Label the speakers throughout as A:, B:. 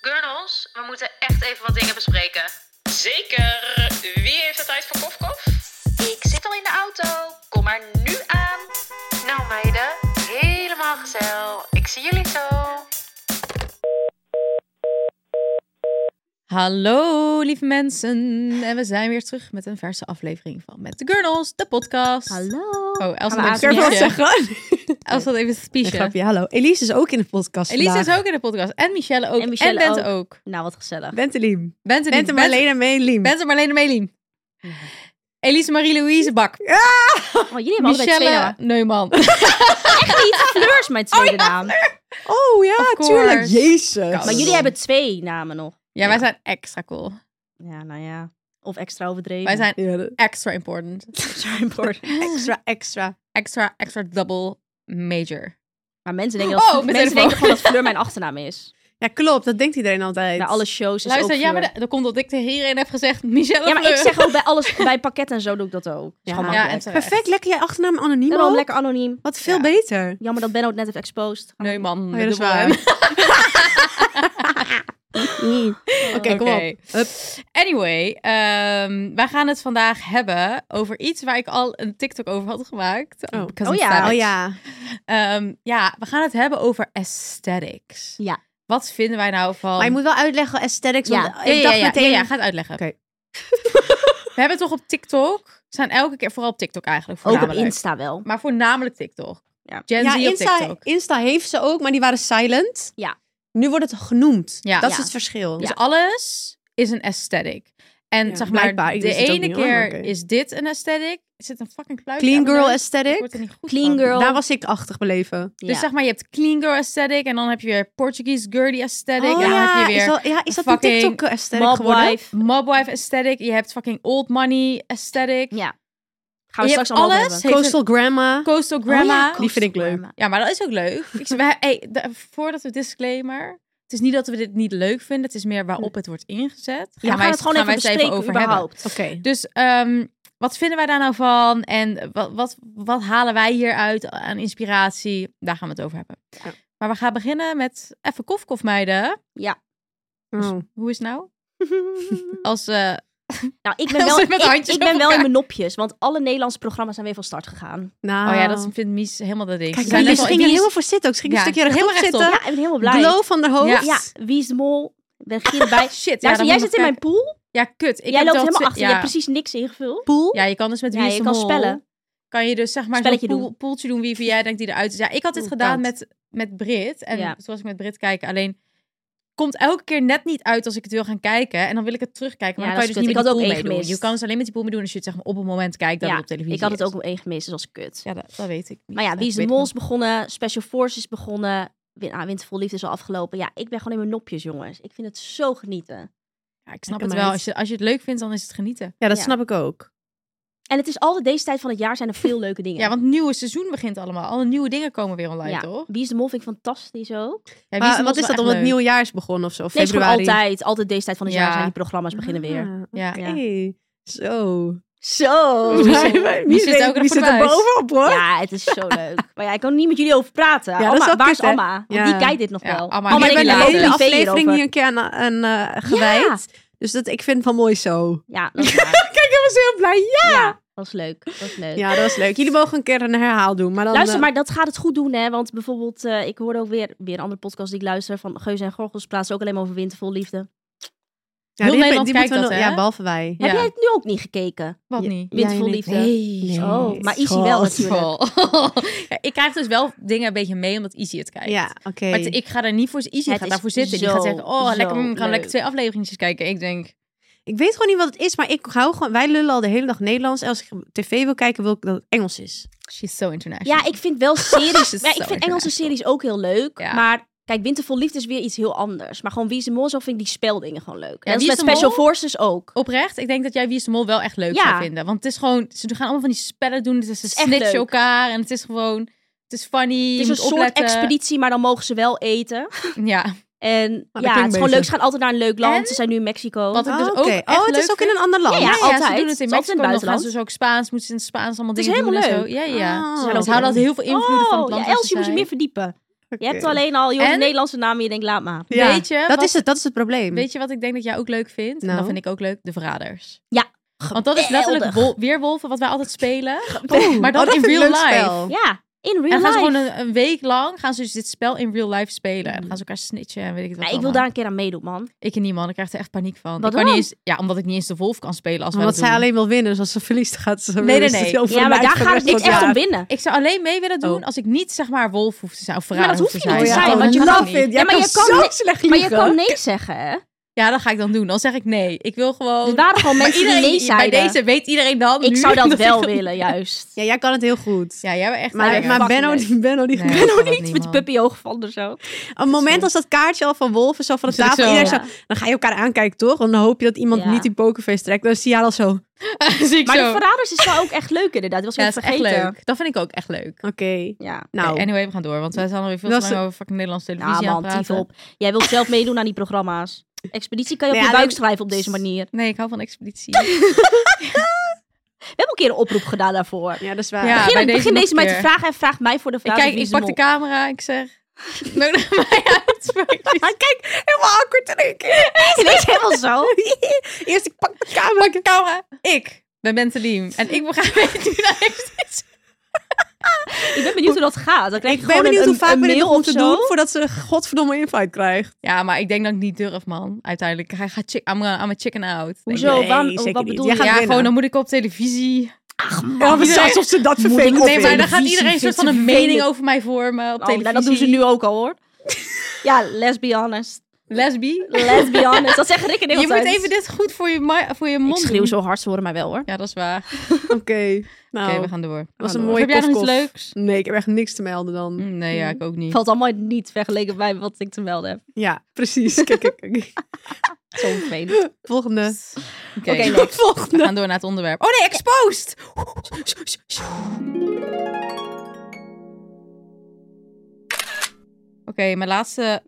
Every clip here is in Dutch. A: Jos, we moeten echt even wat dingen bespreken.
B: Zeker. Wie heeft de tijd voor kofkof?
A: Ik zit al in de auto. Kom maar nu aan. Nou meiden, helemaal gezellig. Ik zie jullie zo.
C: Hallo lieve mensen. En we zijn weer terug met een verse aflevering van Met de Gurnels, de podcast.
D: Hallo.
C: Oh, Els
D: Hallo,
C: had
D: Adriaan.
C: even
D: Durf
C: zeggen. Els had even
D: Een
C: speechen.
D: grapje, hallo. Elise is ook in de podcast
C: Elise is
D: vandaag.
C: ook in de podcast. En Michelle ook. En,
D: En Michelle
C: Bente ook.
D: Nou, wat gezellig.
E: Bente Liem.
C: Bente,
E: Bente
C: Bente,
E: Marlena Meeliem.
C: Bente Marlene Meelien. Elise Marie-Louise Bak.
D: Oh, jullie hebben allebei twee
C: Michelle
D: namen.
C: Neumann.
D: Echt niet. Fleur is mijn tweede naam.
E: Oh ja,
C: Of
E: tuurlijk.
C: course.
E: Jezus.
C: Kan.
D: Maar jullie hebben twee namen nog.
C: Ja, wij zijn extra cool.
D: Ja, nou ja. Of extra overdreven.
C: Wij zijn
E: Ja, dat-
C: extra important.
D: Sorry, boor.
E: extra, extra.
C: Extra, extra double major.
D: Maar mensen denken,
C: Oh,
D: dat,
C: mijn
D: mensen
C: telefoon.
D: denken gewoon dat Fleur mijn achternaam is.
E: Ja, klopt. Dat denkt iedereen altijd.
D: Bij alle shows is
C: Luister,
D: ook
C: ja, maar
D: Fleur.
C: dat, dat komt dat ik tegen iedereen heb gezegd. Michelle
D: Ja, maar
C: Fleur.
D: ik zeg ook bij alles, bij pakket en zo doe ik dat ook. Ja,
E: Ja.
C: Ja,
D: gewoon makkelijk.
C: en terecht.
E: Perfect, lekker jij achternaam anoniem.
D: Daarom
E: ook.
D: lekker Mm, anoniem.
E: Wat veel
C: Ja.
E: beter.
D: Jammer dat Benno het net heeft exposed.
C: Neumann.
E: Oh, ja, dat is
C: dubbel
E: waar.
C: M.
E: Oké,
D: Eh,
E: kom op. Hup.
C: Anyway, ehm, wij gaan het vandaag hebben over iets waar ik al een TikTok over had gemaakt.
E: Oh.
C: Because
D: Oh
C: I'm
D: ja.
C: savage.
E: Oh ja.
C: Ehm, ja, we gaan het hebben over aesthetics.
D: Ja.
C: Wat vinden wij nou van...
E: Maar je moet wel uitleggen aesthetics.
D: Ja.
E: Want
C: Ja,
E: ik
C: ja,
E: dacht
C: ja,
E: meteen...
C: ja, ja, ga het uitleggen.
E: Oké.
C: we hebben toch op TikTok... Zijn elke keer, vooral op TikTok eigenlijk,
D: Ook op
C: voornamelijk.
D: Insta wel.
C: Maar voornamelijk TikTok.
D: Ja.
C: Gen
E: Ja,
C: Z op
E: Insta,
C: TikTok.
E: Insta heeft ze ook, maar die waren silent.
D: Ja.
E: Nu wordt het genoemd.
C: Ja.
E: Dat
D: Ja.
E: is het verschil.
C: Dus alles is een aesthetic. En
E: Ja,
C: zeg maar,
E: blijkbaar. Ik
C: de
E: wist het ook
C: ene
E: niet, hoor,
C: keer
E: maar oké.
C: is dit een aesthetic. Er zit een fucking kluitje
E: Clean
C: aan mijn
E: girl
C: neus. Oh, Ik
E: aesthetic. Oh,
C: word er niet goed
D: Clean
C: van. Nou,
D: girl.
E: Daar was ik achtig beleven.
D: Ja.
C: Dus zeg maar, je hebt clean girl aesthetic. En dan heb je weer Portuguese girly aesthetic.
E: Oh
C: en dan heb je
E: is
C: weer
E: dat, ja, is dat een
C: fucking
E: TikTok aesthetic
D: Mob
E: geworden?
D: wife.
C: mobwife aesthetic. Je hebt fucking old money aesthetic.
D: Ja. Gaan
C: Je
D: we straks
C: hebt
D: allemaal
C: alles.
D: hebben.
C: heeft
E: Coastal grandma.
C: een coastal
D: Oh ja,
C: grandma. ja.
E: Die vind ik leuk.
D: Coastal
C: maar dat is ook leuk. Ik, zeg, wij- hey, de- voordat we disclaimer... Het is niet dat we dit niet leuk vinden. Het is meer waarop het wordt ingezet.
D: Ja, we gaan het gewoon
C: gaan
D: even
C: wij eens
D: bespreken
C: over hebben.
D: überhaupt.
E: Oké.
C: Dus ehm, wat vinden wij daar nou van? En wat, wat, wat halen wij hieruit aan inspiratie? Daar gaan we het over hebben.
E: Ja.
C: Maar we gaan beginnen met even kofkof meiden.
E: Oh.
C: Hoe is het nou? Als, eh,
D: Nou, ik ben wel,
C: Zit met
D: ik,
C: handjes
D: ik ben
C: op
D: wel in
C: elkaar.
D: mijn nopjes, want alle Nederlandse programma's zijn weer van start gegaan.
E: Nou.
C: Oh ja,
D: Ah.
C: dat vindt Mies helemaal dat ding.
E: Kijk,
C: Ze zijn
E: Elise
C: net al-
E: ging er
C: Mies-
E: helemaal voor zitten ook. Ze ging
C: Ja,
E: een stukje rechtop
C: helemaal rechtop.
E: zitten.
D: Ja, ik ben helemaal blij.
E: Glow van haar hoofd.
D: Ja, wie is de mol? Ben ik hierbij?
C: Shit, ja,
D: Luister,
C: dan
D: jij
C: moet
D: zit
C: ik
D: in
C: nog
D: mijn pool.
C: kijken. Ja, kut. Ik
D: jij
C: heb wel
D: loopt helemaal
C: twee-
D: achter.
C: Ja.
D: Je hebt precies niks ingevuld.
E: Poel.
C: Ja, je kan dus met wie
D: Ja,
C: is
D: je
C: de
D: kan
C: Mol,
D: spellen.
C: Kan je dus zeg maar zo'n
D: Spelletje
C: poel,
D: doen.
C: poeltje doen wie, wie jij denkt die eruit is. Ja, ik had dit
D: Oeh,
C: gedaan
D: koud.
C: met, met Brit. En
D: Ja.
C: zoals ik met Brit kijk, alleen komt elke keer net niet uit als ik het wil gaan kijken. En dan wil ik het terugkijken. Maar
D: Ja,
C: dan kan
D: dat
C: je dus
D: is
C: niet
D: kut.
C: met die
D: Ik had ook
C: pool
D: één
C: meedoen.
D: gemist.
C: Je kan dus alleen met die pool meedoen als je het zeg maar, op het moment kijkt dat
D: Ja,
C: het op televisie
D: ik had het
C: is.
D: ook om één gemist, dus dat was kut.
C: Ja, dat, dat weet ik niet.
D: Maar ja, wie is de
C: Ik weet
D: mol
C: het
D: is begonnen, Special Forces is begonnen, Win- ah, Wintervol Liefde is al afgelopen. Ja, ik ben gewoon in mijn nopjes, jongens. Ik vind het zo genieten.
C: niet. Ja, ik snap
E: Lekker
C: het wel.
E: meid.
C: Als je, als je het leuk vindt, dan is het genieten.
E: Ja, dat
D: Ja.
E: snap ik ook.
D: En het is altijd deze tijd van het jaar zijn er veel leuke dingen.
C: Ja, want het nieuwe seizoen begint allemaal. Alle nieuwe dingen komen weer online,
D: Ja,
C: toch?
D: Wie is de mol vind ik fantastisch ook.
C: Ja,
E: Maar
C: de Mol
E: Ah, wat is
C: wel
E: dat?
C: echt
E: Omdat het
C: leuk.
E: nieuwe jaar is begonnen of zo? Of
D: Nee, het is gewoon
E: februari?
D: altijd, altijd deze tijd van het
C: Ja.
D: jaar zijn die programma's beginnen weer.
C: Ja.
E: Ah, oké. Zo.
D: Zo!
C: Wie zit ook nog
E: Wie
C: voor
E: zit
C: de
E: er
C: buis?
E: bovenop, hoor?
D: Ja, het is zo leuk. Maar ja, ik kan er niet met jullie over praten.
E: Ja, dat
D: Amma,
E: is wel
D: waar
E: kut,
D: is
E: hè?
D: Amma? Want
E: Ja.
D: die kijkt dit nog
C: Ja,
D: wel.
C: Amma,
E: Oh, Maar
C: die
D: en
E: ik
C: hebben
D: ik
E: ben
C: we
E: de
C: later.
D: praten
E: hele
D: privé
E: aflevering
D: hierover.
E: hier een keer aan, aan eh, gewijd. Dus dat, ik vind het wel mooi zo.
D: Ja, dat is waar.
E: Kijk, ik was heel blij. Ja,
D: ja, dat is leuk. Dat is leuk.
E: dat was leuk. Jullie mogen een keer een herhaal doen. Maar dan,
D: Luister,
E: eh,
D: maar dat gaat het goed doen, hè? Want bijvoorbeeld, eh, ik hoorde ook weer, weer een andere podcast die ik luister van Geuze en Gorgels plaatsen ook alleen maar over wintervol liefde.
E: ja,
C: heel
E: die-
C: Nederland
E: die
C: kijkt
E: moeten we
C: dat, hè?
E: nog- Ja, behalve wij.
C: Ja.
D: Heb jij het nu ook niet gekeken?
C: Wat
E: Ja.
C: niet?
D: Wintervol
E: niet.
D: liefde.
E: Nee.
D: Oh, maar Izzy wel
E: Schat.
D: natuurlijk.
C: Ja, ik krijg dus wel dingen een beetje mee omdat Izzy het kijkt.
E: Ja, oké.
C: Maar het- ik ga daar niet voor. Izzy
D: Het
C: gaat
D: is
C: daarvoor zitten. Die
D: zo,
C: gaat zeggen, oh,
D: zo
C: lekker, mm, ik kan
D: leuk.
C: lekker twee afleveringen kijken. Ik denk,
E: Ik weet gewoon niet wat het is, maar ik hou gewoon. Wij lullen al de hele dag Nederlands. En Als ik tv wil kijken, wil ik dat het Engels is.
C: she's so international.
D: Ja, ik vind wel series.
C: Is zo
D: ja, ik vind Engelse
C: international.
D: series ook heel leuk.
C: Ja.
D: Maar kijk, Wintervol Liefde is weer iets heel anders. Maar gewoon Wie is de Mol, zo vind ik die speldingen gewoon leuk.
C: Ja,
D: en dat
C: Wie
D: is
C: is
D: met
C: de
D: Special
C: Mol?
D: Forces ook.
C: Oprecht, ik denk dat jij Wie is de Mol wel echt leuk
D: Ja.
C: zou vinden. Want het is gewoon, ze gaan allemaal van die spellen doen. Het is ze
D: is echt
C: snitchen
D: leuk.
C: elkaar en het is gewoon, het is funny.
D: Het
C: je
D: is Dus een
C: moet
D: soort
C: opletten.
D: expeditie, maar dan mogen ze wel eten.
C: Ja,
D: En
E: dat
D: ja,
E: klinkt
D: het is gewoon
E: beter.
D: leuk. Ze gaan altijd naar een leuk land.
C: En?
D: Ze zijn nu in Mexico.
C: Wat ik dus
E: oké.
C: ook echt
E: oh, het
C: leuk
E: is ook in
C: vind.
E: een ander land.
D: Ja, ja.
C: ja, ze
D: altijd.
C: doen het in
D: Het is altijd
C: Mexico. Dan
D: in het
C: gaan ze
D: buitenland.
C: dus ook Spaans, moeten ze in het Spaans allemaal
D: Het is
C: dingen doen en
D: helemaal
C: zo. Ja, ja.
E: Ah.
C: Ze
E: Ze
C: houden
E: zijn ook
C: altijd heel veel invloeden van het
D: Oh, ja,
C: land. waar
D: Els, je moet
C: zijn.
D: je meer verdiepen.
E: Oké.
D: Je hebt alleen al jonge
C: En?
D: Nederlandse namen. Je denkt, laat maar.
E: Ja,
C: Weet je
E: Dat,
C: wat-
E: is het, dat is het probleem.
C: Weet je wat ik denk dat jij ook leuk vindt? En
E: Mm. Nou.
C: dat vind ik ook leuk. De Verraders.
D: Ja,
C: Want dat is letterlijk
D: geweldig.
C: wol- weerwolven wat wij altijd spelen.
E: Boom.
C: Maar dan
E: Oh, dat
C: in
E: vind ik
C: real
E: een leuk
C: life.
E: spel.
D: Ja, in real
C: en gaan
D: life.
C: ze gewoon een, een week lang gaan ze dus dit spel in real life spelen.
E: Mm.
C: En dan gaan ze elkaar snitchen en weet ik het wat
D: Nee, ik wil
C: allemaal.
D: daar een keer aan meedoen, man.
C: Ik niet, man. Ik krijg er echt paniek van.
D: Wat
C: ik kan niet
D: dan?
C: eens, ja, omdat ik niet eens de wolf kan spelen als wij
E: Omdat
C: dat
E: zij
C: doen.
E: alleen wil winnen. Dus als ze verliest, gaat ze
C: nee,
E: is het
C: nee.
E: heel veel
D: Ja, maar
E: meid
D: daar gaat
E: voor de
D: het
E: rest
D: niet
E: van
D: echt om
E: jaar.
D: winnen.
C: Ik zou alleen mee willen doen
E: Oh.
C: als ik niet zeg maar wolf hoef te zijn of
D: dat
C: verrader hoef
D: hoef
C: te
D: je niet
C: zijn.
D: te zijn,
E: oh,
D: want je
E: love
D: kan
E: it.
C: niet.
E: Jij
D: Ja, maar
E: kan
D: je kan
E: zo
D: ni-
E: slecht
D: Maar je
E: liegen.
D: kan nee zeggen, hè?
C: Ja, dat ga ik dan doen. Dan zeg ik nee. Ik wil gewoon...
D: Er waren gewoon mensen die nee
C: bij
D: zeiden.
C: deze weet iedereen dan.
D: ik
C: nu
D: zou dat
C: ik
D: wel willen, juist.
E: Ja, jij kan het heel goed.
C: Ja, jij bent echt...
E: Maar,
C: lekker.
E: maar
D: fucking
E: Benno,
D: leuk.
E: die- Benno, die
C: Nee,
E: Benno
C: dat kan
E: niet.
C: niet,
D: Met
C: man.
D: puppy ooggevallen of zo.
E: Een moment als dat kaartje al van wolven zo van de
C: Zit ik
E: tafel.
C: zo?
E: iedereen zo- dan ga je elkaar aankijken, toch? Want dan hoop je dat iemand
D: Ja.
E: niet die pokerface trekt. Dan zie je haar al zo. Oké.
C: Zie ik
D: Maar
C: zo.
D: de verraders is wel ook echt leuk, inderdaad. Die was
C: Ja,
D: ik
C: dat
D: even
C: is echt
D: vergeten.
C: leuk. Dat vind ik ook echt leuk.
D: Ja.
E: Nou,
C: Oké, anyway, we gaan door. Want wij zijn alweer veel
E: Dat
C: te
E: is-
C: lang over fucking Nederlandse
D: Nou
C: televisie aan
D: man,
C: het
D: tief
C: praten.
D: op. Jij wilt zelf meedoen aan die programma's. Expeditie kan je op
E: Nee,
D: je
E: alleen-
D: buik schrijven op deze manier.
C: Nee, ik hou van expeditie.
D: We hebben een keer een oproep gedaan daarvoor.
E: ja, dat is waar.
C: Ja.
D: begin
C: bij deze
D: begin deze,
C: nog
D: mij
C: een
D: te
C: keer.
D: vragen en vraag mij voor de
C: ik
D: vraag.
C: kijk, ik pak de camera. Ik zeg... Nodig mij uit. voor expeditie.
E: Kijk, helemaal awkward in één keer.
D: Weet je wel zo?
E: Eerst ik pak de camera.
C: Camera. Ik ben Bente Liem. En ik ga meedoen aan expeditie.
D: Ik ben benieuwd hoe dat gaat. Dan krijg ik
E: Ik ben
D: gewoon
E: benieuwd
D: een,
E: hoe vaak
D: een
E: we dit nog
D: mail of
E: moeten
D: zo.
E: doen voordat ze een godverdomme invite krijgt.
C: Ja, maar ik denk dat ik niet durf, man. Uiteindelijk. Ik ga, ga chick, I'm, gonna- I'm a chicken out. denk
D: Hoezo?
C: ik.
D: Waarom-
E: Nee, zeker
D: wat
E: niet.
D: bedoel
E: Jij
D: je?
E: gaat
C: Ja,
E: winnen.
C: gewoon dan moet ik op televisie.
E: Ja, maar
C: iedereen-
E: zelfs of ze dat vervelend
D: ik-
C: Nee,
E: vinden.
C: maar dan
D: televisie
C: gaat iedereen een
D: vindt
C: soort van een
D: ze
C: mening
D: vervelend.
C: over mij vormen op
D: Oh,
C: televisie.
D: nou, dat doen ze nu ook al hoor. Ja, let's be honest.
C: Lesbi.
D: Let's be honest. Dat zeggen Rick en ik
C: Je moet
D: altijd.
C: even dit goed voor je, ma- voor je
D: Ik
C: mond
D: schreeuw
C: doen.
D: zo hard, ze horen mij wel hoor.
C: Ja, dat is waar. Oké,
E: Oké, nou.
D: Oh.
C: we gaan door.
D: gaan
E: was een
D: door.
E: mooie
C: Heb jij nog iets
E: kof-kof.
C: leuks?
E: Nee, ik heb echt niks te melden dan.
C: Mm, Nee, ja, ik ook niet.
D: Valt allemaal niet vergeleken bij wat ik te melden heb.
E: Ja, precies. Kijk, kijk, kijk.
D: Zo vervelend.
E: Volgende.
C: Oké,
D: Oké,
C: we
D: leuk.
E: Volgende.
C: gaan door naar het onderwerp. Oh nee, exposed! Oké, mijn laatste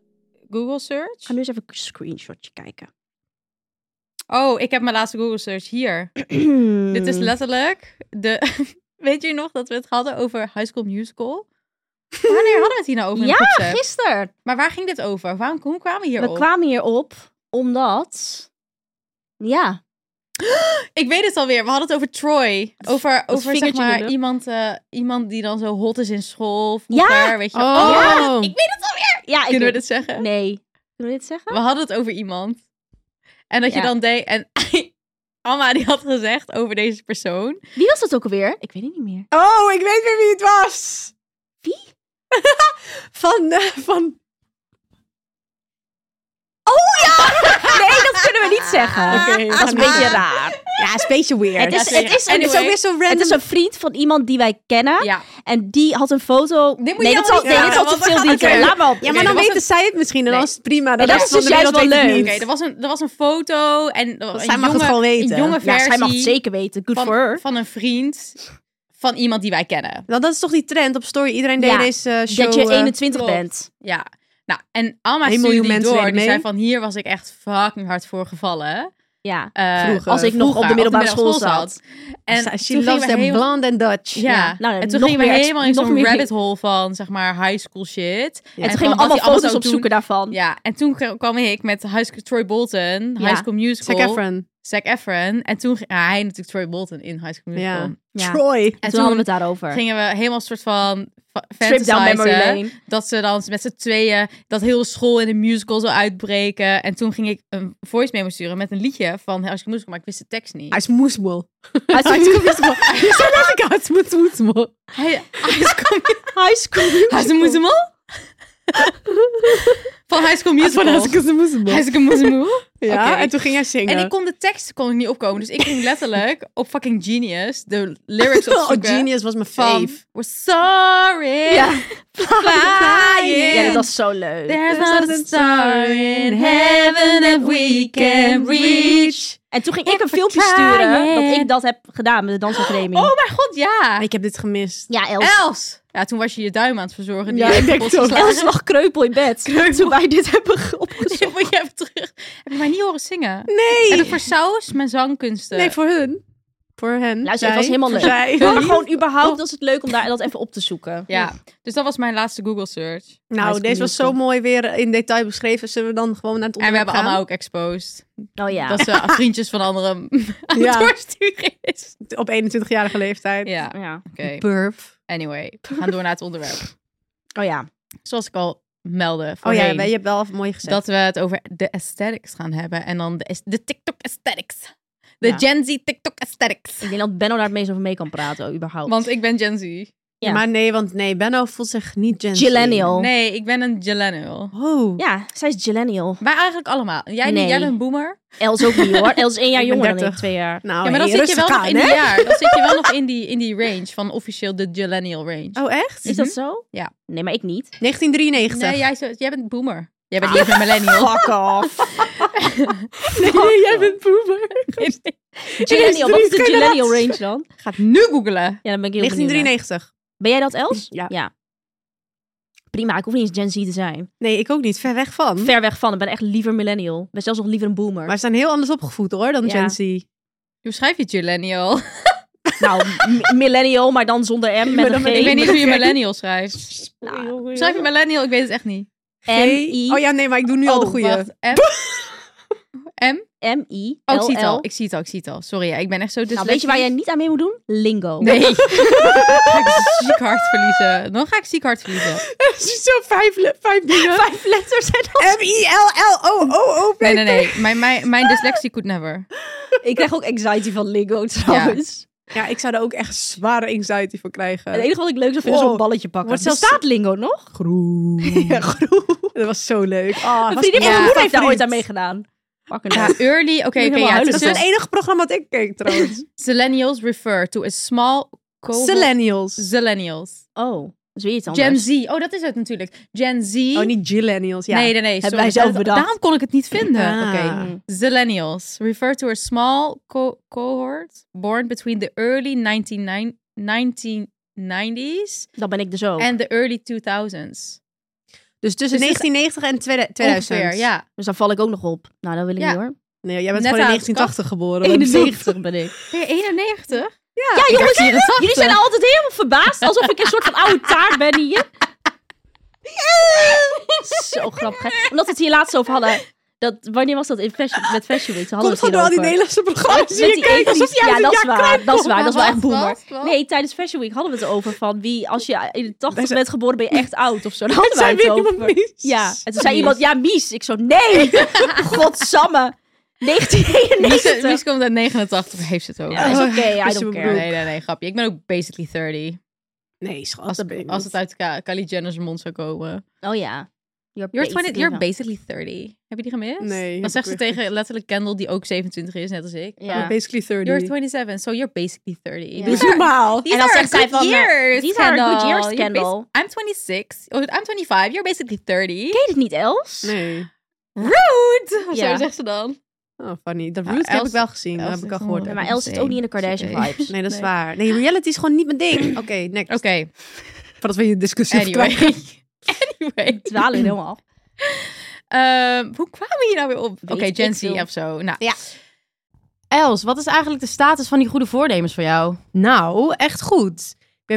C: Google search.
D: Ga nu eens even een screenshotje kijken.
C: Oh, ik heb mijn laatste Google search hier.
D: Eh.
C: Dit is letterlijk de... Weet je nog dat we het hadden over High School Musical? Wanneer hadden we het hier nou over? in de
D: Ja,
C: groepsapp?
D: gisteren.
C: Maar waar ging dit over? Waarom, hoe kwamen we
D: We
C: hierop?
D: kwamen hierop omdat... Ja,
C: Ik weet het alweer. We hadden het over Troy. Over,
D: dat
C: over zeg
D: vingertje in de
C: maar
D: lucht.
C: iemand, eh, iemand die dan zo hot is in school.
D: Ja!
C: Vroeger, weet je.
E: Oh,
C: Oh,
E: ik
D: ja ik
C: kunnen we
D: weet-
C: dit zeggen?
D: Nee. Kunnen we dit zeggen?
C: We hadden het over iemand. En dat je
D: Ja.
C: dan deed... En Amma die had gezegd over deze persoon.
D: Wie was dat ook alweer? Ik weet het niet meer.
E: Oh, ik weet weer wie het was.
D: Wie?
E: van, eh, van...
D: Oh Nee, dat kunnen we niet zeggen.
E: Oké,
D: dat is een beetje raar.
E: Ja, is een beetje weird.
D: Ah, Het is,
C: zeker.
D: het is
E: en
D: een,
E: het is ook weer zo random.
D: het is een vriend van iemand die wij kennen.
C: Ja.
D: En die had een foto...
C: moet je
D: nee, dit
C: helemaal
D: is al,
C: niet
D: nee, dit
C: zeggen,
D: is al te
C: want dan
D: veel
C: gaat-
D: detail.
C: oké.
D: Laat maar op.
E: Ja,
C: Oké,
E: maar dan
C: er was
E: weten zij het misschien en dan
C: Nee.
E: is het prima.
D: Nee,
E: Dan
D: dat
E: is
D: is dus juist wel leuk.
C: Oké, er, was een- er was een foto. En er was
E: zij
C: een
E: mag het
C: jonge,
E: gewoon weten.
C: Een jonge
E: Ja,
D: Ja,
C: versie
D: zij mag het zeker weten. Good for
C: van,
D: her.
C: van een vriend van iemand die wij kennen.
E: Nou, dat is toch die trend op story. Iedereen deed
D: Ja,
E: deze eh, show.
D: Dat je
E: eh,
D: 21
C: klopt.
D: bent.
C: Ja. Nou, en Alma
E: Een
C: stuurde
E: miljoen
C: die
E: mensen
C: door.
E: deden
C: Die zei
E: mee.
C: van, hier was ik echt fucking hard voor gevallen.
D: Ja.
C: Eh,
E: Vroeger.
D: Als ik nog op de middelbare school
C: middelbare
D: zat.
C: En
E: She
C: toen gingen
E: loves
C: we
E: them
C: helemaal...
E: blonde and Dutch.
C: Ja,
D: Ja, nou,
C: en toen
D: nog
C: gingen we
D: meer ex-
C: helemaal in
D: nog
C: zo'n
D: meer-
C: rabbit hole van, zeg maar, high school shit.
D: En toen
C: van wat
D: gingen we
C: die
D: allemaal
C: allemaal
D: foto's
C: zou doen.
D: opzoeken daarvan.
C: Ja, en toen k- kwam ik met High School Troy Bolton,
D: Ja.
C: High School Musical,
E: Zac Efron.
C: Zac Efron. En toen ging ah, hij natuurlijk Troy Bolton in High School Musical.
E: Ja.
D: Ja.
E: Troy.
D: En
C: En
D: toen hadden Dus we het daarover.
C: gingen we helemaal soort van fa-
D: Trip down memory
C: fantasizen.
D: lane.
C: dat ze dan met z'n tweeën dat hele school in een musical zou uitbreken. En toen ging ik een voice memo sturen met een liedje van High School Musical, maar ik wist de tekst niet.
E: Hij is moesbol.
D: High
E: Hij
D: school,
E: is moesbol. Je zei dat ik uit moet moesbol.
C: Hij, high School
D: high school
C: High School Musical? van High School
E: Van
C: Musical.
E: Haskell's moesbol.
C: High School Musical.
E: Ja,
C: Oké.
E: en toen ging hij zingen.
C: En ik kon de tekst kon ik niet opkomen, dus ik ging letterlijk op fucking Genius de lyrics opzoeken.
E: Oh, Genius was mijn
C: Van,
E: fave.
C: we're sorry,
D: Ja.
C: flying.
D: Ja, dat was zo leuk.
C: There's not a star in heaven that we can reach.
D: En toen ging ik een
C: Even
D: filmpje
C: trying.
D: sturen dat ik dat heb gedaan met de dansacademie.
C: Oh mijn god, ja.
E: Ik heb dit gemist.
D: Ja, Els.
C: Els! Ja, toen was je je duim aan het verzorgen.
E: Ja, ik denk het ook.
D: Els lag kreupel in bed toen wij dit hebben ge- opgezocht.
C: Ik moet je even terug. Heb je mij niet horen zingen?
E: Nee.
C: En voor saus, mijn zangkunsten.
E: Nee, voor hun. voor hen.
D: Luister, het was helemaal leuk.
E: voor zij.
D: Maar gewoon überhaupt was het leuk om daar dat even op te zoeken.
C: Ja, dus dat was mijn laatste Google search.
D: High
E: Nou,
D: School
E: deze was zo
D: Musical.
E: mooi weer in detail beschreven. Zullen we dan gewoon naar het
C: En we
E: onderwerp
C: hebben allemaal ook exposed.
D: Oh ja.
C: Dat ze vriendjes van anderen aan het
E: Ja.
C: doorsturen is.
E: gaan? Op 21-jarige leeftijd.
C: Ja, oké.
D: ja.
E: Burf.
C: Anyway, we gaan door naar het onderwerp.
D: Oh ja.
C: Zoals ik al meldde
E: Oh ja,
C: voorheen,
E: je hebt wel mooi gezegd.
C: dat we het over de aesthetics gaan hebben. En dan de, es- de TikTok aesthetics. De
D: Ja.
C: Gen Z TikTok aesthetics.
D: Ik denk dat Benno daar het meest over mee kan praten, überhaupt.
C: Want ik ben Gen Z.
D: Ja.
E: Maar nee, want nee, Benno voelt zich niet Gen Z.
D: Gillennial.
C: Nee, ik ben een Millennial.
E: Oh,
D: Ja, zij is Gillennial.
C: Wij eigenlijk allemaal. Jij, niet,
D: Nee.
C: jij bent een boomer.
E: Oh,
D: Els ook niet hoor. Els is één jaar
E: Ik ben
D: jonger dan ik,
E: 30.
D: twee jaar.
E: nou,
C: ja, maar dan
E: hey,
C: zit je wel
E: rustig
C: nog
E: aan,
C: in die
E: hè?
C: jaar. Dan zit je wel nog in die, in die range van officieel de millennial range.
E: Oh, echt?
D: Is dat zo?
C: Ja.
D: Nee, maar ik niet.
E: 1993.
C: nee, jij, zo- jij bent boomer. Jij bent niet een millennial.
E: Ah. Fuck off.
C: Nee, nee, jij bent boomer.
D: Gillennial, wat is de
E: generatie.
D: Gillennial range dan?
C: Gaat nu googlen.
D: Ja, dan ben ik heel benieuwd naar.
E: 1993.
D: Ben jij dat, Els?
E: Ja.
D: Prima, ik hoef niet eens Gen Z te zijn.
E: Nee, ik ook niet. Ver weg van.
D: Ver weg van, ik ben echt liever millennial. Ik ben zelfs nog liever een boomer.
E: Hm? Maar ze zijn heel anders opgevoed hoor dan
D: Ja.
E: Gen Z.
C: Hoe schrijf je millennial?
D: Nou, m- millennial, maar dan zonder M met een G.
C: Ik weet niet hoe je millennial schrijft.
D: Nou,
C: Hoe schrijf je millennial? Ik weet het echt niet.
E: G-
D: M-I...
E: Oh ja, nee, maar ik doe nu al de
D: Oh,
E: goede.
C: Wacht, M? M?
D: M-I...
C: Oh, ik zie het
D: LL.
C: al. Ik zie het al. Ik zie het al. Sorry, ja, ik ben echt zo
D: Nou,
C: dyslectisch.
D: weet je waar jij niet aan mee moet doen? Lingo.
C: Nee. Dan ga ik ziek hard verliezen. Dan ga ik ziek hard verliezen.
E: Zo vijf, le- vijf dingen.
D: Vijf letters en dan...
E: M-I-L-L-O-O-O.
C: Nee, nee, nee. Mijn, mijn, mijn dyslexie could never.
D: Ik krijg ook anxiety van lingo trouwens.
E: Ja, ik zou er ook echt zware anxiety voor krijgen.
D: Het enige wat ik leuk zou vinden is
E: Wow.
C: Oh.
D: zo'n balletje pakken.
E: Wordt
D: Staat
E: zelfs-
D: Bestaat lingo nog?
E: Groen. Ja, groen. Dat was zo leuk. Ah,
D: Mijn
E: was
D: vriendin van
E: echt
D: mijn moeder heeft daar
E: favoriet.
D: ooit aan meegedaan. Pak een
C: Ja,
D: hand.
C: early. Oké, oké.
D: helemaal
C: ja, het
D: huilen.
C: is
E: Dat is
C: dus
E: het enige programma dat ik keek trouwens.
C: millennials refer to a small cohort.
E: Millennials.
C: Millennials.
D: Oh, dus weer iets anders.
C: Gen Z. Oh, dat is het natuurlijk. Gen Z.
E: Oh, niet Gillennials. Ja.
C: Nee, nee, nee. sorry.
D: wij zelf
C: Dat-
D: bedacht.
C: Daarom kon ik het niet vinden.
E: Ah.
C: Oké. Zillennials refer to a small co- cohort born between the early 1990 1990s
D: Dan ben ik dus ook.
C: and the early 2000s.
E: Dus tussen
C: Dus het
E: 1990 en 2000. 2000.
C: Ongeveer, ja.
D: Dus dan val ik ook nog op. Nou, dat wil ik
C: Ja.
D: niet hoor.
E: Nee, jij bent
C: Net
E: gewoon in
C: uit de
E: 1980 geboren. Wat betreft-
D: 91 ben ik.
C: Ben je 91?
D: Ja, jongens,
C: dacht
D: jullie-
C: 84.
D: jullie zijn altijd helemaal verbaasd. Alsof ik een soort van oude taart ben hier. Zo grappig. hè? Omdat we het hier laatst over hadden. Dat, wanneer was dat in fashion, met Fashion Week? Toen hadden
E: Komt
D: we
E: gewoon
D: het
E: door al die
D: hierover.
E: Nederlandse programma's die
D: Met
E: je
D: die
E: kijkt. Alsof
D: ethisch-
E: jij
D: ja,
E: uit
D: dat
E: een
D: is
E: jaar
D: waar.
E: klein
D: Dat is waar.
C: Maar
D: Dat is wel
C: wat,
D: echt boomer.
C: wat, wat?
D: Nee, tijdens Fashion Week hadden we het over van wie, als je in de tachtig
E: Wij
D: bent geboren, ben je echt oud of zo. Daar hadden
E: bent,
D: wij
E: zei
D: het
E: weer
D: over.
E: iemand mies.
D: Ja. En toen zei
C: Mies.
D: iemand, ja, Mies. Ik zo, nee. Godsamme. 1991.
C: Mies komt uit 89, heeft ze het ook.
D: Ja, is oké.
E: Oh,
D: I
E: is
D: don't
E: je
D: care.
E: broek.
C: Nee, nee, nee, grapje. Ik ben ook basically 30.
E: Nee, schat.
C: Als,
E: dat ben je
C: het, als
E: niet.
C: het uit Ka- Kylie Jenner's mond zou komen.
D: Oh ja. You're,
C: You're, 20,
D: basically
C: you're
D: wel-
C: basically 30. Heb je die gemist?
E: Nee, heb
C: Dan zegt
E: ik
C: ze
E: echt
C: tegen letterlijk Kendall, die ook 27 is, net als ik.
D: Ja.
E: Basically 30.
C: You're 27, so you're basically 30.
D: Ja.
E: Doe
C: These
E: eens normaal.
C: These
D: En dan
C: are
D: zegt zij
C: good
D: van, eh,
C: years,
D: these are good
C: Kendall.
D: years,
C: You're
D: Kendall.
C: basi- I'm 26. Oh, I'm 25. You're basically 30.
D: Ken je dit niet, Els?
E: Nee.
C: Rude!
D: Ja.
C: Zo zegt ze dan.
E: Oh, funny. Dat
C: Ja,
E: root heb
C: Els-
E: ik wel gezien. Dat
C: Els
E: heb ik
C: is
E: al
C: een
E: gehoord.
D: Ja,
E: ook.
D: maar Els zit ook niet in de
C: Same.
D: Kardashian
C: Sorry.
D: vibes.
E: Nee, dat is
C: Nee.
E: waar. Nee, reality is gewoon niet mijn ding. Oké, next.
C: Oké,
E: Voordat we je discussie
C: anyway.
E: verkwijnen.
C: anyway.
D: Dwalen helemaal af.
C: Ehm, hoe kwamen we hier nou weer op? Oké,
D: ik
C: Gen Z
D: veel.
C: of zo. Nou.
E: Ja.
C: Els, wat is eigenlijk de status van die goede voornemens voor jou?
E: Nou, echt goed. Ik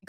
F: Ik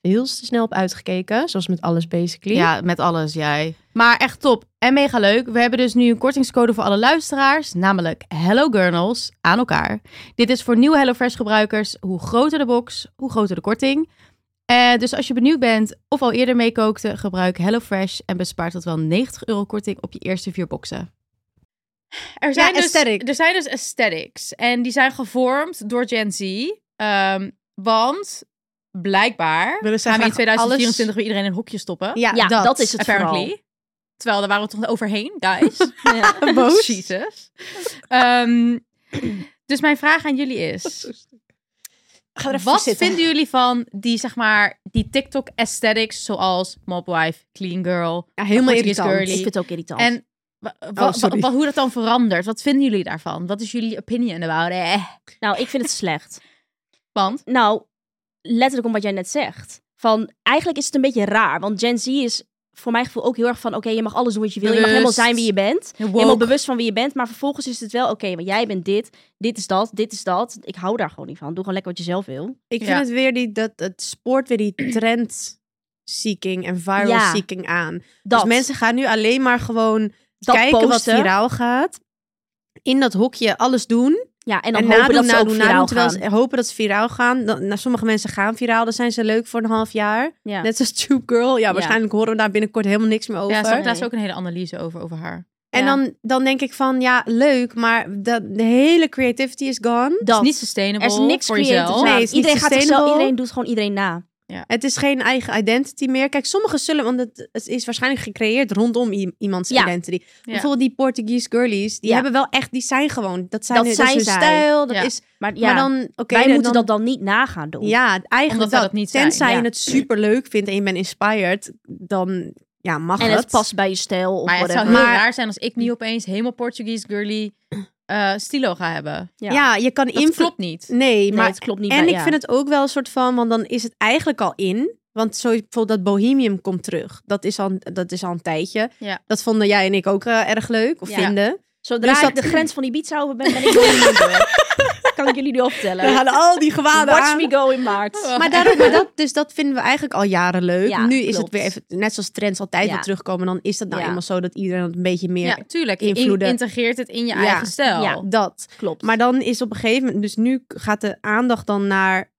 E: heel te snel op uitgekeken. Zoals met alles basically.
F: Ja, met alles, jij. Maar echt top en mega leuk. We hebben dus nu een kortingscode voor alle luisteraars, namelijk Hello Gurnals aan elkaar. Dit is voor nieuwe HelloFresh gebruikers. Hoe groter de box, hoe groter de korting.
G: Eh, dus als je benieuwd bent of al eerder meekookte, gebruik HelloFresh en bespaar tot wel 90 euro korting op je eerste vier boxen.
C: Er zijn, dus,
E: aesthetic.
C: er zijn dus aesthetics. En die zijn gevormd door Gen Z. Ehm, want blijkbaar
E: Willen zij
C: gaan we in
E: graag
C: 2024
E: alles-
C: weer iedereen in een hokje stoppen.
E: Ja,
D: Ja, dat is het
C: apparently.
D: vooral.
C: Terwijl daar waren we toch overheen, guys.
D: Ja.
C: Boos. Jesus. Ehm, dus mijn vraag aan jullie is...
E: Ga er even voor
C: Wat
E: zitten.
C: vinden jullie van die, zeg maar, die TikTok-aesthetics zoals Mobwife, Clean Girl?
D: Ah,
A: Ja, helemaal
C: Portugees
A: irritant.
C: girly.
D: Ik vind het ook irritant.
C: En wa- wa-
E: Oh, sorry.
C: wa- hoe dat dan verandert? Wat vinden jullie daarvan? Wat is jullie opinion about it? Eh,
D: Nou, ik vind het slecht.
C: Want
D: Nou, letterlijk om wat jij net zegt. Van, eigenlijk is het een beetje raar. Want Gen Z is voor mijn gevoel ook heel erg van... Oké, je mag alles doen wat je wil. Je mag helemaal
C: Bewust.
D: zijn wie je bent. Helemaal
C: Woke.
D: bewust van wie je bent. Maar vervolgens is het wel... Oké, maar jij bent dit. Dit is dat. Dit is dat. Ik hou daar gewoon niet van. Doe gewoon lekker wat je zelf wil.
E: Ik vind
C: Ja.
E: het weer die, dat het spoort weer die trend seeking en viral
D: Ja.
E: seeking aan.
D: Dat.
E: Dus mensen gaan nu alleen maar gewoon
D: dat
E: kijken
D: posten.
E: wat viraal gaat. In dat hokje alles doen.
D: Ja, en
E: En,
D: dan hopen
E: nadoen,
D: dat ze ook
E: nadoen,
D: viraal
E: nadoen. Terwijl
D: gaan.
E: ze hopen dat ze viraal gaan. Dan, nou, sommige mensen gaan viraal. Dan zijn ze leuk voor een half jaar.
D: Ja.
E: Net zoals Tube Girl. Ja, waarschijnlijk horen we daar binnenkort helemaal niks meer over.
C: ja, ze had
D: Nee.
C: laatst ook een hele analyse over, over haar.
E: en
D: ja.
E: dan, dan denk ik van, ja, leuk. Maar dat, de hele creativity is gone.
C: Het
D: Dat.
C: is niet sustainable
D: er is niks
C: voor
D: creatiefs
C: jezelf.
D: aan.
E: Nee, het is niet
D: iedereen, gaat zichzelf,
E: sustainable.
D: iedereen doet gewoon iedereen na.
E: Het is geen eigen identity meer. Kijk, sommigen zullen, want het, het is waarschijnlijk gecreëerd rondom i- iemands
D: Ja.
E: identity. Bijvoorbeeld die Portuguese girlies, die
D: Ja.
E: hebben wel echt, die zijn gewoon, dat zijn, dus
D: Dat
E: hun,
D: zijn
E: dat is hun
D: zij.
E: stijl. Dat
C: Ja.
E: is,
D: Maar, ja,
E: maar dan, oké,
D: wij
E: dan-
D: moeten
E: dan-
D: dat dan niet nagaan doen.
E: Ja,
C: Omdat
E: eigenlijk
C: wij
E: dat.
C: dat niet zijn,
E: Tenzij
D: ja.
E: je het super leuk vindt en je bent inspired, dan ja, mag
D: en
E: het.
D: het past bij je stijl of
C: Maar het zou
D: whatever.
C: heel
E: Maar-
C: raar zijn als ik nu opeens helemaal Portuguese girly eh, stilo ga hebben.
E: Ja, je kan
C: Dat
E: invloed.
C: klopt niet.
E: Nee,
D: Nee,
E: maar
D: het klopt niet.
E: en
D: bij-
E: ik
D: ja.
E: vind het ook wel een soort van, want dan is het eigenlijk al in. Want zo bijvoorbeeld dat Bohemium komt terug. Dat is al, dat is al een tijdje.
C: Ja.
E: Dat vonden jij en ik ook eh, erg leleuk. Of
D: Ja.
E: vinden.
D: Zodra
E: Dus
D: ik de grens van Ibiza over ben, ben ik door Kan ik jullie nu al
E: We
D: vertellen.
E: hadden al die gewaden
D: Watch
E: aan. Oh.
D: me go in maart.
E: Maar, daarom, maar dat, dus dat vinden we eigenlijk al jaren leuk.
D: Ja,
E: nu is
D: klopt.
E: het weer even, net zoals trends altijd
D: Ja.
E: weer terugkomen. Dan is dat nou
D: Ja.
E: eenmaal zo dat iedereen het een beetje meer...
C: Ja, tuurlijk. Je in-
E: invloeden.
C: integreert het in je
E: Ja.
C: eigen stijl.
D: Ja.
E: Dat.
D: Klopt.
E: Maar dan is op een gegeven moment... Dus nu gaat de aandacht dan naar